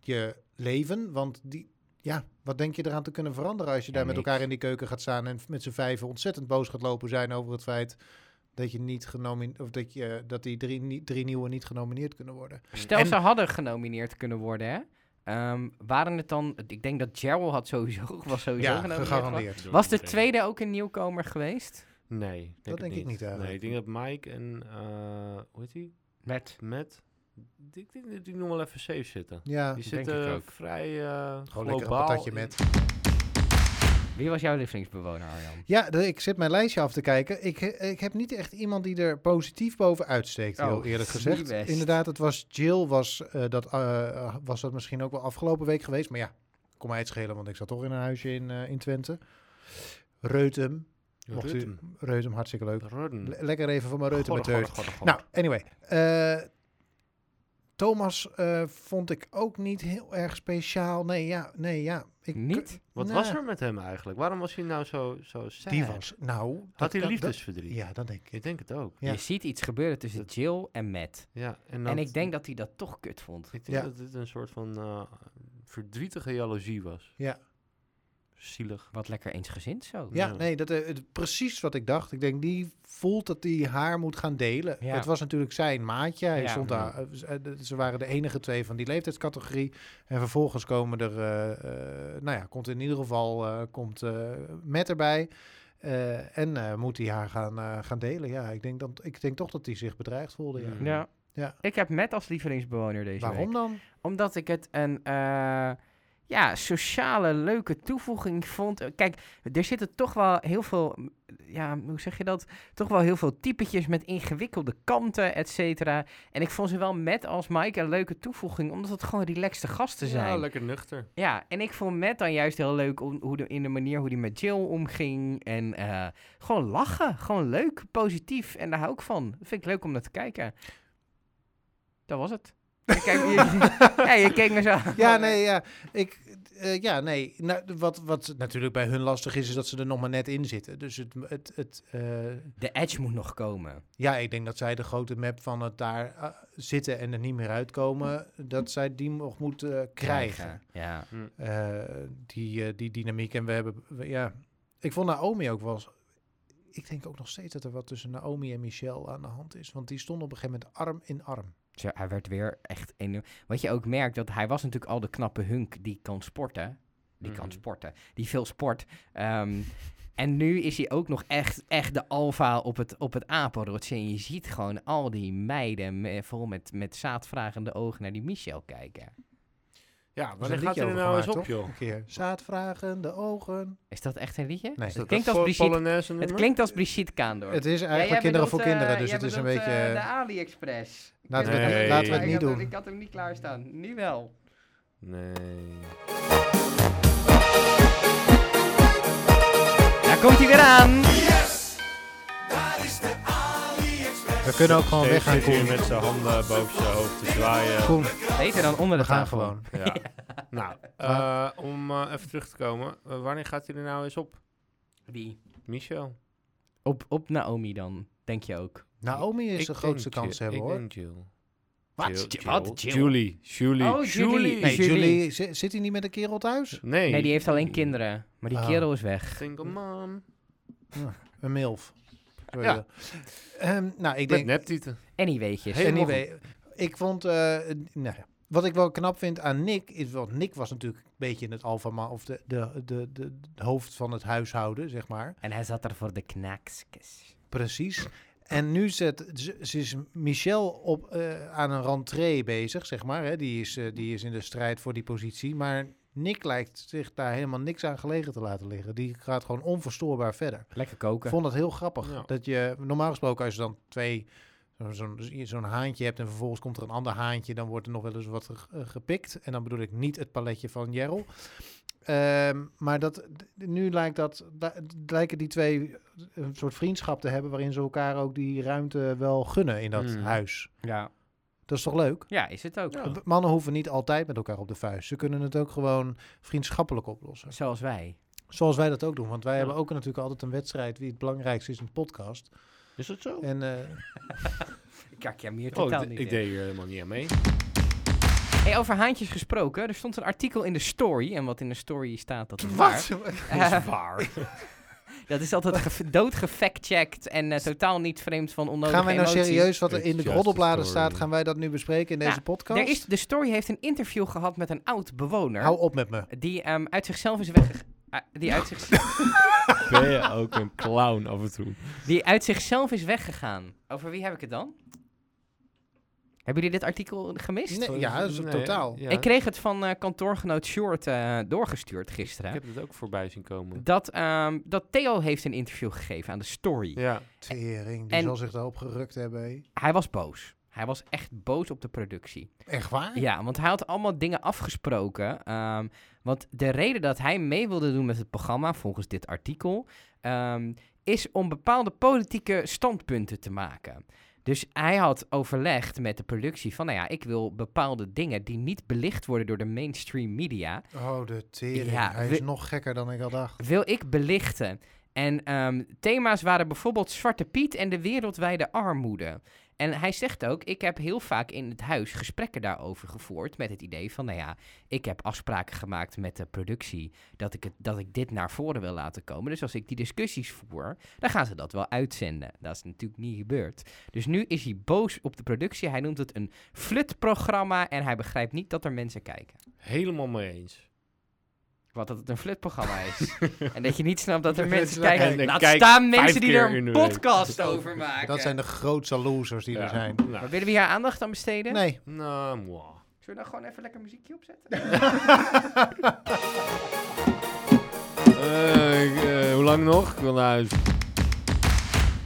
je leven. Want die, ja, wat denk je eraan te kunnen veranderen als je Ja, daar met niks. elkaar in die keuken gaat staan en met z'n vijven ontzettend boos gaat lopen zijn over het feit dat je niet genomineerd of dat, je, dat die drie, nie- drie nieuwe niet genomineerd kunnen worden. Stel, En- ze hadden genomineerd kunnen worden, hè? Ehm, waren het dan... Ik denk dat Gerald had sowieso, was sowieso ja, genomineerd. gegarandeerd. Was de tweede ook een nieuwkomer geweest? Nee, denk Dat het denk ik niet eigenlijk. Nee, ik denk dat Mike en, eh hoe heet die? Met. Matt, ik denk dat die nog wel even safe zitten. Ja, Die denk ik zitten ook. vrij eh gewoon lekker een globaal. patatje in- met. Wie was jouw lievelingsbewoner, Arjan? Ja, de- ik zit mijn lijstje af te kijken. Ik, he- ik heb niet echt iemand die er positief boven uitsteekt, Oh, heel eerlijk die gezegd. best. Inderdaad, het was Jill, was, eh, dat, eh, was dat misschien ook wel afgelopen week geweest. Maar ja, kon mij het schelen, want ik zat toch in een huisje in, eh, in Twente. Reutem, mocht Rutten. u... Reutem, hartstikke leuk. Rutten. Le- lekker even van mijn Reutem met Godde, deugd. godde, godde, godde. Nou, anyway. eh, Thomas eh, vond ik ook niet heel erg speciaal. Nee, ja, nee, ja. Ik, Niet? Wat nou, was er met hem eigenlijk? Waarom was hij nou zo, zo sad? Die was, nou... dat- Had hij dat- liefdesverdriet? dat- Ja, dat denk ik. Ik denk het ook. Ja. Je ziet iets gebeuren tussen Dat- Jill en Matt. Ja, en, En dat- ik denk dat hij dat toch kut vond. ik denk Ja. dat dit een soort van eh, verdrietige jaloezie was. Ja. Zielig. Wat lekker eensgezind zo. Ja, Ja. nee, dat, eh, het, precies wat ik dacht. Ik denk, die voelt dat hij haar moet gaan delen. Ja. Het was natuurlijk zijn maatje. Hij Ja. stond daar, eh, z- eh, d- ze waren de enige twee van die leeftijdscategorie. En vervolgens komen er, eh, eh, nou ja, komt in ieder geval eh, komt, eh, met erbij. Eh, en eh, moet hij haar gaan, eh, gaan delen. Ja, ik denk, dat, ik denk toch dat hij zich bedreigd voelde. Ja. Mm. Ja. Ja. Ik heb Matt als lievelingsbewoner deze week. Waarom dan? Omdat ik het een eh, ja, sociale, leuke toevoeging vond. Eh, Kijk, er zitten toch wel heel veel, mm, ja, hoe zeg je dat? Toch wel heel veel typetjes met ingewikkelde kanten, et cetera. En ik vond ze wel met als Mike een leuke toevoeging, omdat het gewoon relaxte gasten Ja, zijn. Ja, lekker nuchter. en ik vond Matt dan juist heel leuk om, hoe de, in de manier hoe hij met Jill omging. En eh, gewoon lachen, gewoon leuk, positief. En daar hou ik van. Dat vind ik leuk om naar te kijken. Dat was het. Ik kijk, je, ja, je keek me zo. aan. Oh, Ja, nee, ja. Ik, eh, ja, nee. Nou, wat, wat natuurlijk bij hun lastig is, is dat ze er nog maar net in zitten. Dus het, het, het, eh, De edge moet nog komen. Ja, ik denk dat zij de grote map van het daar eh, zitten en er niet meer uitkomen, dat zij die nog moet eh, krijgen. Ja. Eh, die, eh, die dynamiek. En we hebben, we- ja, ik vond Naomi ook wel. eens- Ik denk ook nog steeds dat er wat tussen Naomi en Michelle aan de hand is. Want die stonden op een gegeven moment arm in arm. Zo, hij werd weer echt enorm. Wat je ook merkt, dat hij was natuurlijk al de knappe hunk die kan sporten. Die kan Mhm. sporten. Die veel sport. Ehm, en nu is hij ook nog echt, echt de alfa op het, op het apenrotsen. En je ziet gewoon al die meiden me- vol met, met zaadvragende ogen naar die Michel kijken. Ja, Er is wanneer een gaat hij er liedje nou over eens op, gemaakt, joh? Een keer. Zaadvragen, de ogen. Is dat echt een liedje? Nee, dat klinkt als Po- Brigitte- Polonaise Het nummer? klinkt als Brigitte Kaandorp. het is Ja, jij eigenlijk kinderen bedoelt, voor eh, kinderen, dus jij het is een bedoelt, beetje... eh, de AliExpress. laten we het, Nee. niet- laten we het Ik niet had hem- doen. Ik had hem niet klaarstaan. Nu wel. Nee. Daar komt hij weer aan. Daar is de AliExpress. We kunnen ook gewoon Steeds weggaan, zit hier Koen. met zijn handen boven zijn hoofd te zwaaien. Koen, Beter dan onder we de gaan tafel. gewoon. Ja. nou, eh, om eh, even terug te komen. eh, wanneer gaat hij er nou eens op? Wie? Michel. Op, op Naomi dan, denk je ook. Naomi is de Ik grootste denk Ju- kans hebben, ik hoor. denk Jill. Wat? Jill- Wat? Jill. Jill? Julie. Julie. Oh, Julie. Nee, Julie. Julie, zi- zit hij niet met een kerel thuis? Nee. Nee, die heeft alleen kinderen. Maar die Ah. kerel is weg. Single mom. Een milf. Sorry, Ja. eh. Ehm, nou, ik Met denk... neptieten. Anyweetjes. Hey. helemaal Anyway, ik vond... eh, nou ja, wat ik wel knap vind aan Nick, is want Nick was natuurlijk een beetje in het alfa, ma- of de, de, de, de, de hoofd van het huishouden, zeg maar. En hij zat er voor de knaksjes. Precies. En nu zet, ze, ze is Michel op, eh, aan een rentree bezig, zeg maar. Hè. Die, is, eh, die is in de strijd voor die positie. Maar Nick lijkt zich daar helemaal niks aan gelegen te laten liggen. Die gaat gewoon onverstoorbaar verder. Lekker koken. Ik vond dat heel grappig. Ja. Dat je, normaal gesproken, als je dan twee, zo- zo'n dus zo'n haantje hebt en vervolgens komt er een ander haantje, dan wordt er nog wel eens wat ge- eh, gepikt. En dan bedoel ik niet het paletje van Jerrel. Ehm, maar dat, d- nu lijkt dat, da- lijken die twee eh, een soort vriendschap te hebben waarin ze elkaar ook die ruimte wel gunnen in dat Hmm. huis. ja. Dat is toch leuk? ja, is het ook. Ja. Mannen hoeven niet altijd met elkaar op de vuist. Ze kunnen het ook gewoon vriendschappelijk oplossen. Zoals wij. Zoals wij dat ook doen. Want wij Ja. hebben ook natuurlijk altijd een wedstrijd wie het belangrijkste is in de podcast. Is dat zo? En eh, Kijk, jij meer Oh, totaal ik, niet ik in. deed hier helemaal niet aan mee. Hey, over haantjes gesproken. Er stond een artikel in de story. En wat in de story staat, dat is waar. Dat is waar. Dat Eh, is altijd ge- doodgefactcheckt en eh, totaal niet vreemd van onnodige Gaan wij nou emoties. serieus wat er It's in de just a roddelbladen story. staat, gaan wij dat nu bespreken in Nou, deze podcast? Er is, de story heeft een interview gehad met een oud bewoner. Hou op met me. Die ehm, uit zichzelf is weggegaan. die, uit zich- Ben je ook een clown af en toe? die uit zichzelf is weggegaan. Over wie heb ik het dan? Hebben jullie dit artikel gemist? Nee, ja, dat is Nee, totaal. ja. Ik kreeg het van eh, kantoorgenoot Short eh, doorgestuurd Ik gisteren. heb het ook voorbij zien komen. Dat, ehm, dat Theo heeft een interview gegeven aan de story. Ja. Tering, die En- zal zich daarop gerukt hebben. hé. Hij was boos. Hij was echt boos op de productie. Echt waar? Ja, want hij had allemaal dingen afgesproken. ehm, want de reden dat hij mee wilde doen met het programma, volgens dit artikel, ehm, is om bepaalde politieke standpunten te maken. Dus hij had overlegd met de productie van, nou ja, ik wil bepaalde dingen die niet belicht worden door de mainstream media, Oh, de tering. Ja, Hij is we- nog gekker dan ik al dacht. wil ik belichten. En ehm, thema's waren bijvoorbeeld Zwarte Piet en de wereldwijde armoede. En hij zegt ook, ik heb heel vaak in het huis gesprekken daarover gevoerd met het idee van, nou ja, ik heb afspraken gemaakt met de productie dat ik, het, dat ik dit naar voren wil laten komen. Dus als ik die discussies voer, dan gaan ze dat wel uitzenden. Dat is natuurlijk niet gebeurd. Dus nu is hij boos op de productie. Hij noemt het een flutprogramma en hij begrijpt niet dat er mensen kijken. Helemaal mee eens. Wat dat het een flutprogramma is. en dat je niet snapt dat er Dat mensen je daar kijken. kijkt. Laat eh, Kijk staan vijf mensen die keer er in de een week. podcast over maken. Dat zijn de grootste losers die Ja. er zijn. Nou, Maar willen we hier aandacht aan besteden? Nee. nou, moi. Zullen we nou gewoon even lekker muziekje opzetten? Eh, ik, eh, hoe lang nog? Ik wil naar huis.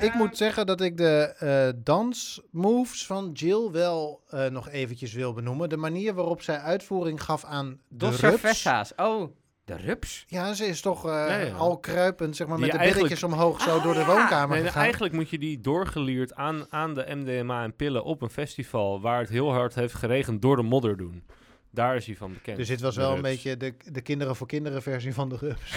Ik moet zeggen dat ik de eh dansmoves van Jill wel eh, nog eventjes wil benoemen. De manier waarop zij uitvoering gaf aan de Dos rups. Cervezas. Oh, de rups? Ja, ze is toch eh, Ja, ja. al kruipend, zeg maar, Die met de eigenlijk- billetjes omhoog zo door de woonkamer Nee, nou, gegaan. eigenlijk moet je die doorgeleerd aan, aan de MDMA en pillen op een festival waar het heel hard heeft geregend door de modder doen. Daar is hij van bekend. Dus dit was de wel een rups. beetje de, de kinderen voor kinderen versie van de rups.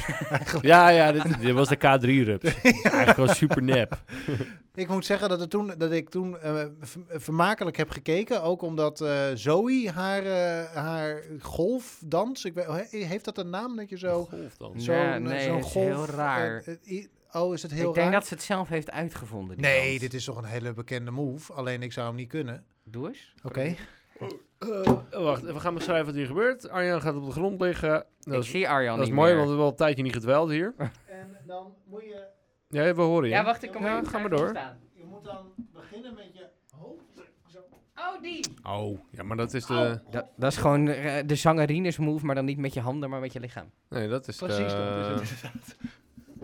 Ja, ja, dit, dit was de K3-rups. Eigenlijk wel super nep. ik moet zeggen dat, het toen, dat ik toen eh, ver- vermakelijk heb gekeken. Ook omdat eh, Zoe haar, eh, haar golfdans... Ik weet, he- heeft dat een naam dat je zo... Golf dan. Nee, zo'n eh, nee, zo'n het is heel golf- raar. eh, eh, i- oh, is het heel ik denk raar? dat ze het zelf heeft uitgevonden. Nee, dit is toch een hele bekende move. Alleen ik zou hem niet kunnen. Doe eens. Oké. Eh, wacht, we gaan beschrijven wat hier gebeurt. Arjan gaat op de grond liggen. ik Dat is, zie Arjan dat is niet mooi, meer. want we hebben al een tijdje niet gedweld hier. En dan moet je, Ja, we horen je. Ja, wacht, ik kom Ja, even- ga maar even door. staan. je moet dan beginnen met je hoofd. Oh, die! Oh, ja, maar dat is de... Dat, dat is gewoon eh, de zangerines move, maar dan niet met je handen, maar met je lichaam. Nee, dat Dus is de- Precies, dat Eh, is het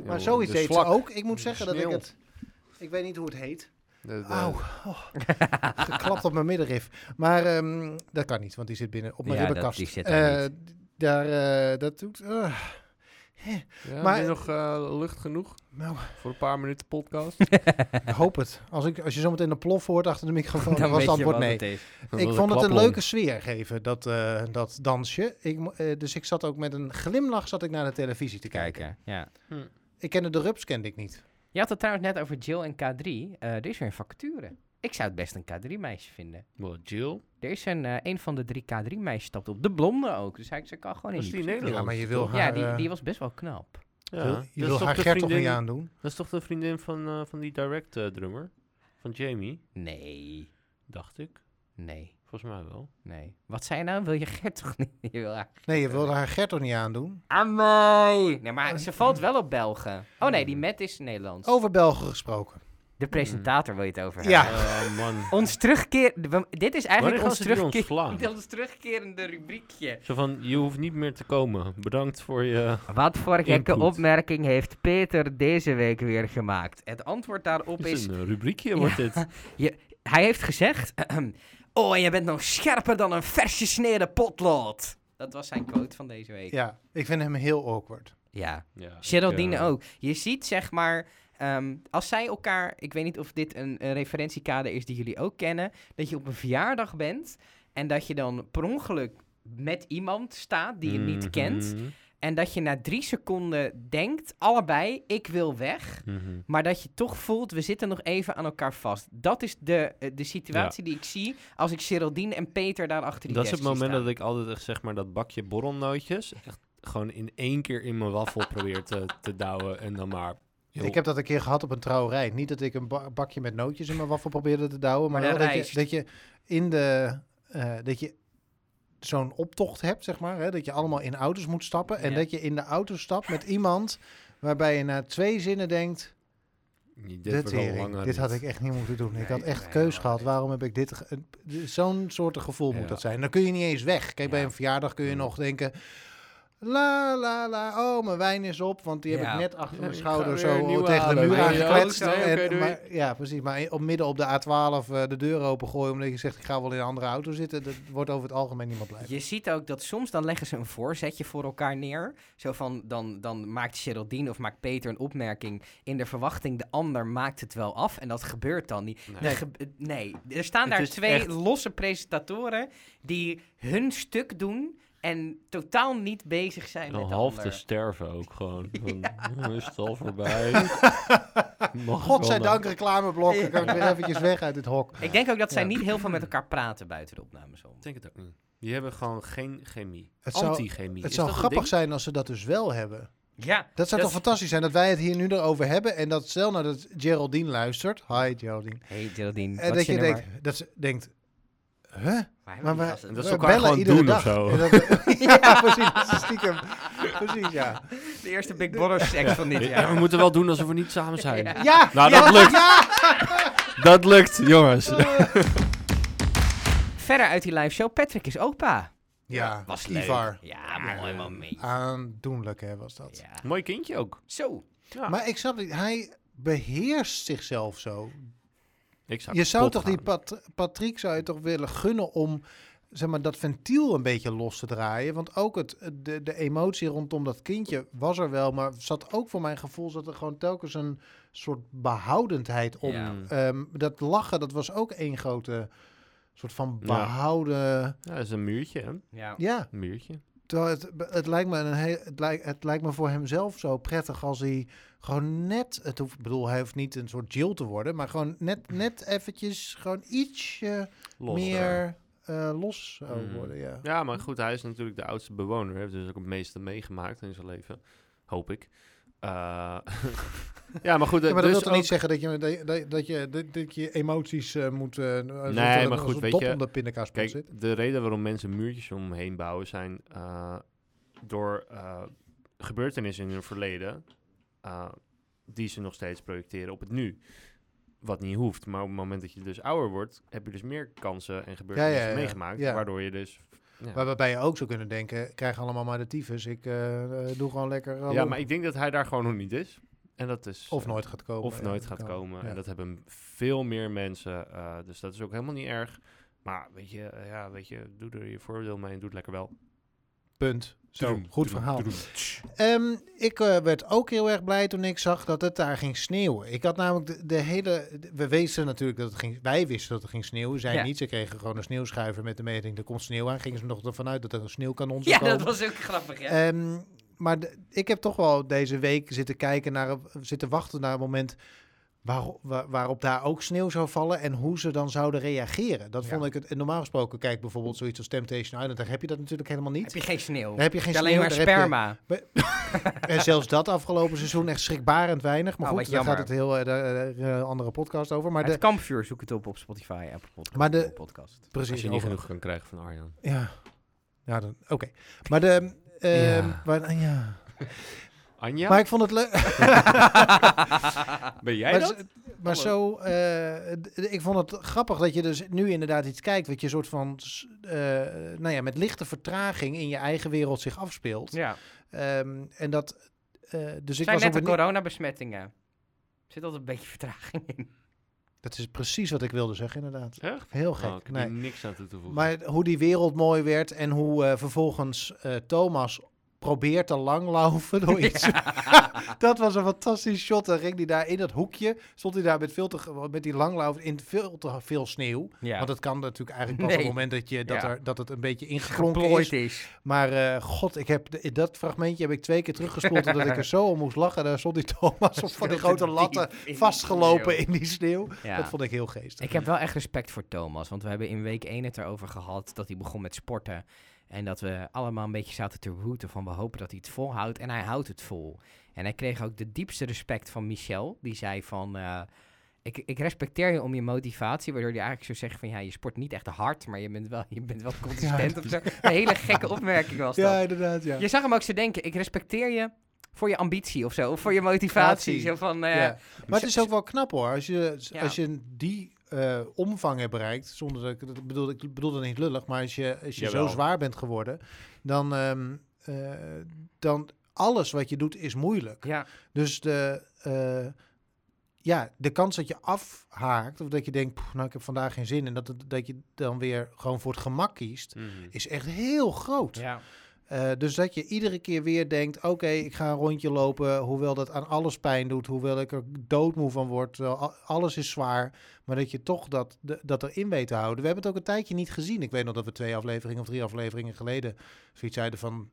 Maar joh, zoiets de heet ze slak. ook. Ik moet zeggen dat ik Sneeuw. het... Ik weet niet hoe het heet. De- de- Auw. Oh. Geklapt op mijn middenrif. Maar ehm, dat kan niet, want die zit binnen op mijn Ja, dat- ribbenkast. die zit daar Eh, d- daar, eh, dat doet... ah, Ja, Maar- maar is nog eh, lucht genoeg nou, voor een paar minuten podcast. ik hoop het. Als, ik, als je zometeen een plof hoort achter de microfoon, dan Dan was weet het je antwoord wat nee. het is. Ik vond het een leuke sfeer geven, dat, eh, dat dansje. Ik, mo- eh, dus ik zat ook met een glimlach zat ik naar de televisie te kijken. Kijken, ja. Ik kende de rups, kende ik niet. Je had het trouwens net over Jill en K3. Eh, er is weer een vacature. Ik zou het best een K3-meisje vinden. Well, Jill? Er is een, eh, een van de drie K3-meisjes stapt op. De blonde ook. Dus hij ze kan gewoon in Dat is die die Nederlander. Ja, maar je wil ploeg. haar, Ja, die, eh, die was best wel knap. Ja, wil- dat je is wil toch haar de Gert toch niet vriendin- aandoen? Dat is toch de vriendin van, eh, van die direct eh, drummer? Van Jamie, Nee, dacht ik. nee, Volgens mij wel. nee. Wat zei je nou? Wil je Gert toch niet? Je wil haar... Nee, je wil haar Gert toch niet aandoen? Aan mij! Nee, maar ze valt wel op Belgen. Oh nee, die Matt is Nederlands. Over Belgen gesproken. De presentator wil je het over hebben. Ja. Oh man. Ons terugkeer... we- Dit is eigenlijk gaan ons, ze die terugkeer... ontslaan? ons terugkerende rubriekje. Zo van, je hoeft niet meer te komen. Bedankt voor je... Wat voor gekke Input. opmerking heeft Peter deze week weer gemaakt? Het antwoord daarop Het is is... een eh, rubriekje, wordt dit. Je, hij heeft gezegd... oh, je bent nog scherper dan een vers gesneden potlood. Dat was zijn quote van deze week. Ja. Ja, ik vind hem heel awkward. Ja, Geraldine ik, eh, ook. Je ziet zeg maar... ehm, als zij elkaar, ik weet niet of dit een, een referentiekader is die jullie ook kennen, dat je op een verjaardag bent en dat je dan per ongeluk met iemand staat die je niet mhm, kent. En dat je na drie seconden denkt, allebei, ik wil weg. mhm. Maar dat je toch voelt, we zitten nog even aan elkaar vast. Dat is de, eh, de situatie die ik zie als ik Geraldine en Peter daar achter die Dat is het desk zie moment staan. dat ik altijd echt zeg maar dat bakje borrelnootjes echt gewoon in één keer in mijn waffel probeer te, te douwen en dan maar... heel- Ik heb dat een keer gehad op een trouwerij. Niet dat ik een ba- bakje met nootjes in mijn waffel probeerde te douwen, maar, Maar wel de dat je, rijst. dat je in de... eh, dat je zo'n optocht hebt, zeg maar. Hè, dat je allemaal in auto's moet stappen. En Ja. dat je in de auto stapt met iemand waarbij je na twee zinnen denkt... Dit, De wordt al tering. langer Dit had niet. ik echt niet moeten doen. Ik Nee, had echt nee, keus helemaal gehad. niet. Waarom heb ik dit... ge- een- Zo'n soort gevoel Ja. moet dat zijn. Dan kun je niet eens weg. Kijk, bij Ja. een verjaardag kun je Ja. Mm. nog denken... La, la, la. Oh, mijn wijn is op. Want die heb Ja. ik net achter mijn Ik schouder ga weer een zo nieuwe tegen de halen. muur Ja, aangekletst. ja, oké, En- doei. maar- Ja, precies. Maar op, midden op de A12 eh, de deur opengooien... omdat je zegt, ik ga wel in een andere auto zitten. Dat wordt over het algemeen niemand blij. Je ziet ook dat soms dan leggen ze een voorzetje voor elkaar neer. Zo van, dan, dan maakt Geraldine of maakt Peter een opmerking in de verwachting, de ander maakt het wel af. En dat gebeurt dan niet. Nee. Nee, gebe- nee. er staan Het daar is twee echt- losse presentatoren die hun stuk doen en totaal niet bezig zijn Al met de half te ander. sterven ook gewoon. Van, "Oh, Is het al voorbij? Mag ik wel Godzijdank naar- reclameblok. Dan kan ik weer eventjes weg uit dit hok. Ik denk ook dat zij Ja. niet heel veel met elkaar praten buiten de opnames om. Ik denk het ook niet. Die hebben gewoon geen chemie. Het zou- Anti-chemie. Het Is zou dat een grappig ding? zijn als ze dat dus wel hebben. Ja, Dat zou Dat toch fantastisch zijn dat wij het hier nu erover hebben en dat stel nou dat Geraldine luistert. Hi Geraldine. hey Geraldine, En wat Eh, dat is je nummer? denkt, dat ze denkt, huh? Waar hebben Maar we die gasten? we, dat ze we elkaar bellen gewoon iedere doen of dag. zo. En dat- ja, precies. dat is Stiekem. Precies, ja. de eerste Big Brother seks van dit Ja, we jaar. moeten wel doen alsof we niet samen zijn. Ja! Nou, ja, dat lukt. Ja! Dat lukt, jongens. Verder uit die live show, Patrick is opa. ja. was leuk. Ivar. Ja, mooi moment. Aandoenlijk, hè, was dat. Ja. Mooi kindje ook. Zo. Ja. Maar ik snap niet, hij beheerst zichzelf zo. Ik zou Je zou kapot toch die Nou, gaan. Pat- Patrick zou je toch willen gunnen om zeg maar, dat ventiel een beetje los te draaien. Want ook het, de, de emotie rondom dat kindje was er wel. Maar zat ook voor mijn gevoel zat er gewoon telkens een soort behoudendheid op. Ja. Ehm, dat lachen, dat was ook één grote soort van Ja. behouden. Ja, dat is een muurtje, hè? Een Ja. Ja, muurtje. terwijl het, het, lijkt me een heel, het, lijkt, het lijkt me voor hemzelf zo prettig als hij gewoon net. Het hoeft, ik bedoel, hij hoeft niet een soort Jill te worden, maar gewoon net, net eventjes, gewoon ietsje Los. meer eh, los zou Mm. worden, ja. Ja, maar goed, hij is natuurlijk de oudste bewoner. Hij heeft dus ook het meeste meegemaakt in zijn leven. Hoop ik. Eh, Ja, maar goed. Ja, maar dus dat wil toch ook- niet zeggen dat je, dat, dat- dat je, dat, dat je emoties eh, moet... eh nee, maar goed, weet top je, onder pindakaaspot Kijk, zit. de reden waarom mensen muurtjes omheen bouwen zijn eh, door eh, gebeurtenissen in hun verleden eh, die ze nog steeds projecteren op het nu. Wat niet hoeft, maar op het moment dat je dus ouder wordt, heb je dus meer kansen en gebeurtenissen ja, ja. meegemaakt, Ja. waardoor je dus... Ja. Waar- Waarbij je ook zou kunnen denken, krijg allemaal maar de tyfus. Ik eh, eh, doe gewoon lekker... eh, ja, lol. maar ik denk dat hij daar gewoon nog niet is. En dat is... of eh, nooit gaat komen. Of Ja, nooit dat gaat kan. komen. Ja. En dat hebben veel meer mensen. eh, dus dat is ook helemaal niet erg. Maar weet je, eh, ja, weet je, doe er je voordeel mee en doe het lekker wel. Punt. Zo, Doedoem, goed doedoem, verhaal. doedoem. Ehm, ik eh, werd ook heel erg blij toen ik zag dat het daar ging sneeuwen. Ik had namelijk de, de hele... de- we wisten natuurlijk dat het ging... Wij wisten dat het ging sneeuwen. Zij Ja. niet. Ze kregen gewoon een sneeuwschuiver met de meting. Er komt sneeuw aan. Gingen ze nog ervan uit dat er een sneeuwkanon zou Ja, komen. dat was ook grappig, hè? Ehm, maar de- ik heb toch wel deze week zitten kijken naar, een- zitten wachten naar een moment waar, waar- waarop daar ook sneeuw zou vallen en hoe ze dan zouden reageren. Dat Ja. vond ik het. en Normaal gesproken, kijk bijvoorbeeld zoiets als Temptation Island, daar heb je dat natuurlijk helemaal heb niet. je geen sneeuw. Daar heb je geen alleen sneeuw, maar daar heb je- sperma. en zelfs dat afgelopen seizoen echt schrikbarend weinig. Maar Nou, goed, wat daar gaat het jammer. heel eh, daar, eh, eh, andere podcast over. Maar het de, kampvuur zoek het op op Spotify, Apple Podcast. Maar de- Google Podcast. precies. Als je over- niet genoeg kan krijgen van Arjan. Ja. Ja, dan oké. Maar de. ehm, Ja. waar- ja. Anja, Maar ik vond het leuk. ben jij maar dat? z- maar zo, eh, d- ik vond het grappig dat je dus nu inderdaad iets kijkt wat je soort van, s- eh, nou ja, met lichte vertraging in je eigen wereld zich afspeelt. Ja. Ehm, en dat, eh, dus ik zijn was net ook de benieu- coronabesmettingen. Er zit altijd een beetje vertraging in. Dat is precies wat ik wilde zeggen inderdaad. Echt? Heel Oh, gek. ik heb nee. hier niks aan toe te voegen. Maar hoe die wereld mooi werd en hoe eh, vervolgens eh, Thomas probeert te langlaufen door iets. dat was een fantastisch shot. Dan ging hij daar in dat hoekje, stond hij daar met, veel te, met die langlauf in veel te veel sneeuw. Ja. Want het kan natuurlijk eigenlijk pas op Nee. het moment dat, je, dat, Ja. er, dat het een beetje ingeklonken Plooit is. is. Maar eh, god, ik heb de- dat fragmentje heb ik twee keer teruggespoeld omdat ik er zo om moest lachen. Daar stond die Thomas op Veel van die te grote latten diep in die vastgelopen sneeuw. in die sneeuw. Ja. Dat vond ik heel geestig. Ik heb wel echt respect voor Thomas, want we hebben in week 1 het erover gehad dat hij begon met sporten. En dat we allemaal een beetje zaten te roeten van we hopen dat hij het volhoudt. En hij houdt het vol. En hij kreeg ook de diepste respect van Michel. Die zei van, eh, ik, ik respecteer je om je motivatie. Waardoor hij eigenlijk zou zeggen van, ja, je sport niet echt hard, maar je bent wel, je bent wel consistent. of zo. Een hele gekke opmerking was dat. Ja, inderdaad. Ja. Je zag hem ook zo denken, ik respecteer je voor je ambitie of zo. Of voor je motivatie. Motivatie. Zo van, eh, Ja. Maar het is ook wel knap hoor. Als je, Ja. als je die eh, omvang hebt bereikt, zonder dat ik dat bedoel, ik bedoel dat niet lullig, maar als je, als je zo Jawel. zwaar bent geworden, dan, ehm, eh, dan alles wat je doet is moeilijk. ja. Dus de, eh, ja, de kans dat je afhaakt, of dat je denkt, "Poeh, nou ik heb vandaag geen zin, en dat, het- dat je dan weer gewoon voor het gemak kiest, Mhm. is echt heel groot. ja. Eh, dus dat je iedere keer weer denkt: oké, ik ga een rondje lopen. Hoewel dat aan alles pijn doet. Hoewel ik er doodmoe van word. terwijl a- alles is zwaar. Maar dat je toch dat, de- dat erin weet te houden. We hebben het ook een tijdje niet gezien. Ik weet nog dat we twee afleveringen of drie afleveringen geleden. zoiets zeiden van.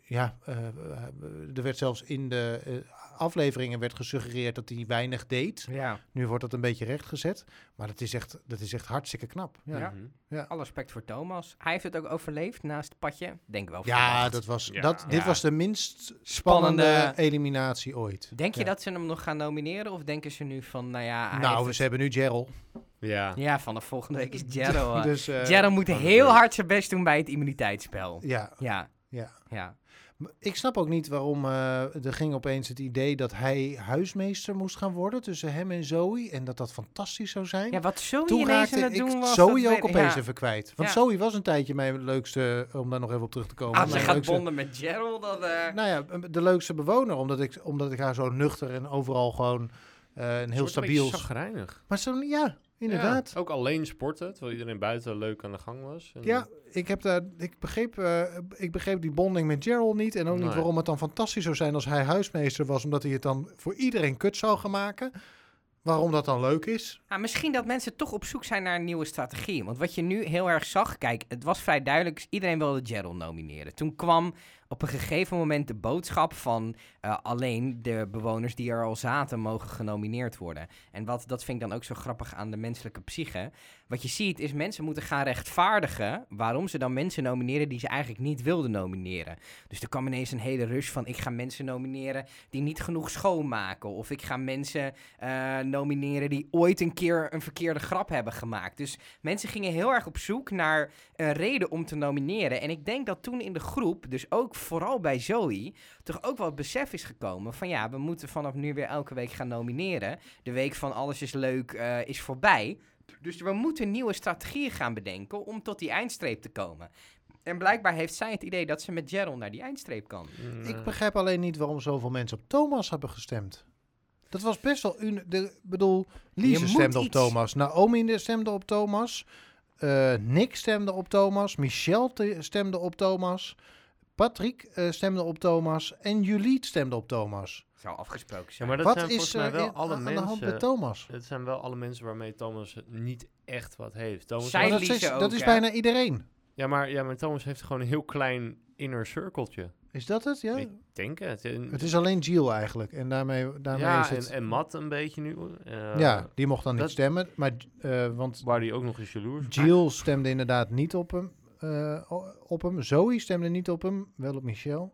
Ja, eh, eh, er werd zelfs in de eh, afleveringen werd gesuggereerd dat hij weinig deed. ja. Nu wordt dat een beetje rechtgezet. Maar dat is echt, dat is echt hartstikke knap. Ja, ja. Mhm. Alle respect voor Thomas. Hij heeft het ook overleefd naast het padje. Denk wel. verwacht. dat was, Ja. Dat, dit Ja. was de minst Spannende- spannende eliminatie ooit. Denk je Ja. dat ze hem nog gaan nomineren? Of denken ze nu van, nou ja... hij Nou, heeft ze hebben nu Gerald. Ja. het- Ja, vanaf volgende week is Jero. eh, dus, eh, Jero moet Oh, dat heel weet ik. hard zijn best doen bij het immuniteitsspel. Ja. Ja. Ja. Ja. M- Ik snap ook niet waarom eh, er ging opeens het idee dat hij huismeester moest gaan worden tussen hem en Zoe. En dat dat fantastisch zou zijn. ja, wat Zoe Toen ineens raakte aan het ik doen was... dat Zoe weet- ook opeens ja. even kwijt. Want Ja. Zoe was een tijdje mijn leukste, om daar nog even op terug te komen. Als Ah, ze mijn gaat leukste- bonden met Gerald, dan... eh, Nou ja, de leukste bewoner. Omdat ik, omdat ik haar zo nuchter en overal gewoon eh, een heel stabiel... Chagrijnig. Maar zo, ja, inderdaad. ook alleen sporten, terwijl iedereen buiten leuk aan de gang was. En- Ja, ik, heb daar, ik, begreep, eh, ik begreep die bonding met Gerald niet. En ook niet Nee. waarom het dan fantastisch zou zijn als hij huismeester was. Omdat hij het dan voor iedereen kut zou gaan maken. waarom dat dan leuk is. Ah, misschien dat mensen toch op zoek zijn naar een nieuwe strategie. Want wat je nu heel erg zag, kijk, het was vrij duidelijk. dus Iedereen wilde Gerald nomineren. Toen kwam op een gegeven moment de boodschap van eh, alleen de bewoners die er al zaten mogen genomineerd worden. En wat, dat vind ik dan ook zo grappig aan de menselijke psyche. Wat je ziet is mensen moeten gaan rechtvaardigen waarom ze dan mensen nomineren die ze eigenlijk niet wilden nomineren. Dus er kwam ineens een hele rush van ik ga mensen nomineren die niet genoeg schoonmaken. Of ik ga mensen eh, nomineren die ooit een keer een verkeerde grap hebben gemaakt. Dus mensen gingen heel erg op zoek naar een reden om te nomineren. En ik denk dat toen in de groep, dus ook vooral bij Zoe, toch ook wel het besef is gekomen van ja, we moeten vanaf nu weer elke week gaan nomineren. De week van alles is leuk eh, is voorbij. Dus we moeten nieuwe strategieën gaan bedenken om tot die eindstreep te komen. En blijkbaar heeft zij het idee dat ze met Gerald naar die eindstreep kan. Mm, Ik begrijp alleen niet waarom zoveel mensen op Thomas hebben gestemd. Dat was best wel... une- de- Ik bedoel, Lise moet stemde op iets. Thomas. Naomi stemde op Thomas. eh, Nick stemde op Thomas. Michelle te- stemde op Thomas. Patrick eh, stemde op Thomas. En Julie stemde op Thomas. Zou afgesproken Ja, zijn. maar dat Wat zijn is volgens er mij wel in- alle aan de hand met mensen... Thomas? Dat zijn wel alle mensen waarmee Thomas niet echt wat heeft. Thomas Zij- Maar En dat is, Lise ook, dat is hè? bijna iedereen. ja, maar, ja, maar Thomas heeft gewoon een heel klein inner cirkeltje. Is dat het? Ja? Ik denk het. En- Het is alleen Giel eigenlijk. En daarmee, daarmee is ja, het... en, en Matt een beetje nu. eh, ja, die mocht dan dat- niet stemmen. Maar, eh, want Waar die ook nog eens jaloers op- Jill stemde inderdaad niet op hem. eh, o- op hem. Zoe stemde niet op hem, wel op Michelle.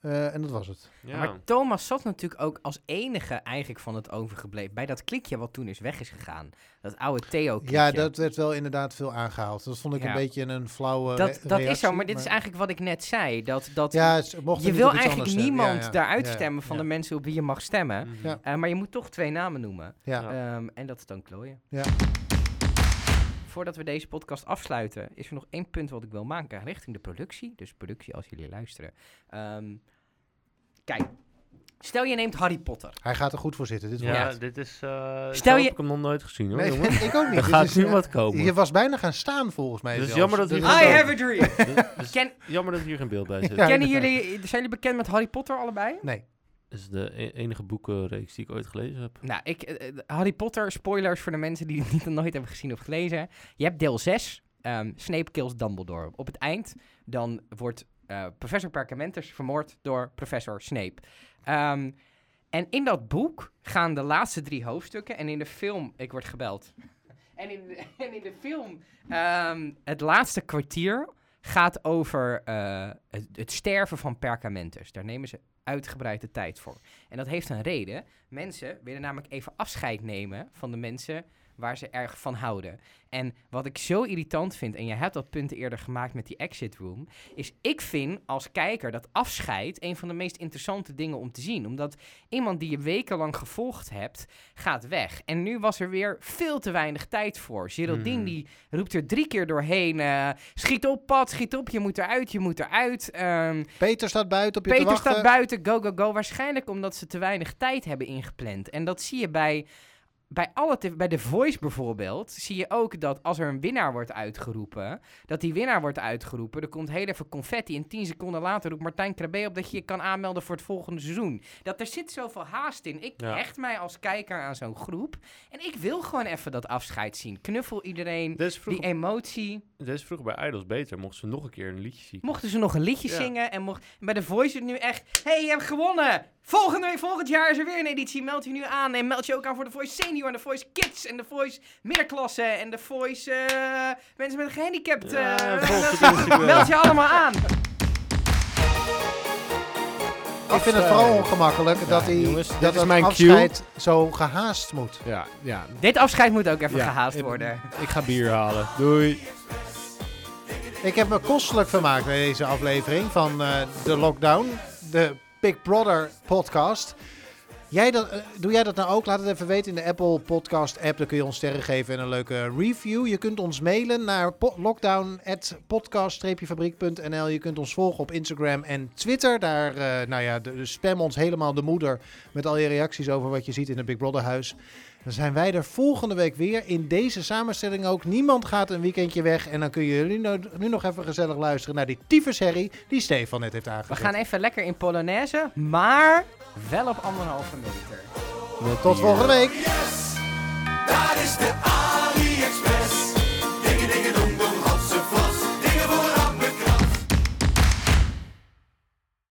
Eh, en dat was het. Ja. Maar Thomas zat natuurlijk ook als enige eigenlijk van het overgebleven. Bij dat klikje wat toen is weg is gegaan. Dat oude Theo-klikje. Ja, dat werd wel inderdaad veel aangehaald. Dat vond ik Ja. een beetje oh, een flauwe dat, re- dat is reactie, zo, maar dit is eigenlijk wat ik net zei. Dat, dat Ja, ze mochten je niet wil op iets eigenlijk anders stemmen. Ja, niemand ja, daaruit ja, ja, stemmen van ja, de mensen op wie je mag stemmen. Mhm. Ja. Eh, maar je moet toch twee namen noemen. Ja. Ehm, en dat is dan klooien. Ja. Voordat we deze podcast afsluiten, is er nog één punt wat ik wil maken richting de productie. Dus productie als jullie luisteren. Ehm, kijk, stel je neemt Harry Potter. Hij gaat er goed voor zitten. Dit Ja, wordt- dit is. eh Stel zo je- heb ik hem nog nooit gezien hoor. Nee, jongen. ik ook niet. Er Dit gaat is, nu eh, wat komen. Je was bijna gaan staan volgens mij. Dus zelfs. jammer dat I is wel- have a dream. Dus- Ken, jammer dat hier geen beeld bij zit. Ja. kennen inderdaad. jullie, zijn jullie bekend met Harry Potter allebei? Nee. Dat is de e- enige boekenreeks die ik ooit gelezen heb. Nou, ik, eh, eh, Harry Potter, spoilers voor de mensen die het niet, nooit hebben gezien of gelezen. Je hebt deel 6, ehm, Snape kills Dumbledore. Op het eind dan wordt eh, professor Perkamentus vermoord door professor Snape. Ehm, en in dat boek gaan de laatste drie hoofdstukken en in de film... Ik word gebeld. En in de, en in de film, ehm, het laatste kwartier gaat over eh, het, het sterven van Perkamentus. Daar nemen ze uitgebreide tijd voor. En dat heeft een reden. Mensen willen namelijk even afscheid nemen van de mensen waar ze erg van houden. En wat ik zo irritant vind, en je hebt dat punt eerder gemaakt met die exit room, is ik vind als kijker dat afscheid een van de meest interessante dingen om te zien. Omdat iemand die je wekenlang gevolgd hebt, gaat weg. En nu was er weer veel te weinig tijd voor. Geraldine Hmm. die roept er drie keer doorheen, eh, schiet op pad, schiet op, je moet eruit, je moet eruit. Ehm, Peter staat buiten op je te Peter wachten. staat buiten, go, go, go. Waarschijnlijk omdat ze te weinig tijd hebben ingepland. En dat zie je bij, bij, alle te- bij The Voice bijvoorbeeld. Zie je ook dat als er een winnaar wordt uitgeroepen, dat die winnaar wordt uitgeroepen. Er komt heel even confetti en tien seconden later roept Martijn Krabbe op dat je je kan aanmelden voor het volgende seizoen. Dat er zit zoveel haast in. Ik Ja. hecht mij als kijker aan zo'n groep. En ik wil gewoon even dat afscheid zien. Knuffel iedereen. Dit is Die e- vroeger, emotie. dit is vroeger bij Idols beter. Mochten ze nog een keer een liedje zien. Mochten ze nog een liedje Ja. zingen en mocht, bij de Voice is het nu echt... hey, je hebt gewonnen! Volgende week, volgend jaar is er weer een editie. Meld je nu aan en meld je ook aan voor de Voice Senior en de Voice Kids en de Voice Middenklasse en de Voice eh, mensen met een gehandicapt. Ja, eh, volg meld- het Instagram. meld je allemaal aan. Ik vind het vooral ongemakkelijk dat, hij, jongens, dit dat is het mijn cue. afscheid zo gehaast moet. Ja, ja. Dit afscheid moet ook even Ja, gehaast ik- worden. Ik ga bier halen. Doei. Ik heb me kostelijk vermaakt bij deze aflevering van eh, de Lockdown, de Big Brother podcast. Jij dat, eh, doe jij dat nou ook? Laat het even weten in de Apple Podcast app. Dan kun je ons sterren geven en een leuke review. Je kunt ons mailen naar po- lockdown.podcast-fabriek.nl. Je kunt ons volgen op Instagram en Twitter. Daar eh, nou ja, de, de spam ons helemaal de moeder met al je reacties over wat je ziet in het Big Brother huis. Dan zijn wij er volgende week weer in deze samenstelling ook. Niemand gaat een weekendje weg. En dan kun je nu, no- nu nog even gezellig luisteren naar die tyfusherrie die Stefan net heeft We aangezet. gaan even lekker in Polonaise, maar wel op anderhalve meter. Tot volgende week. Yes! Daar is de A.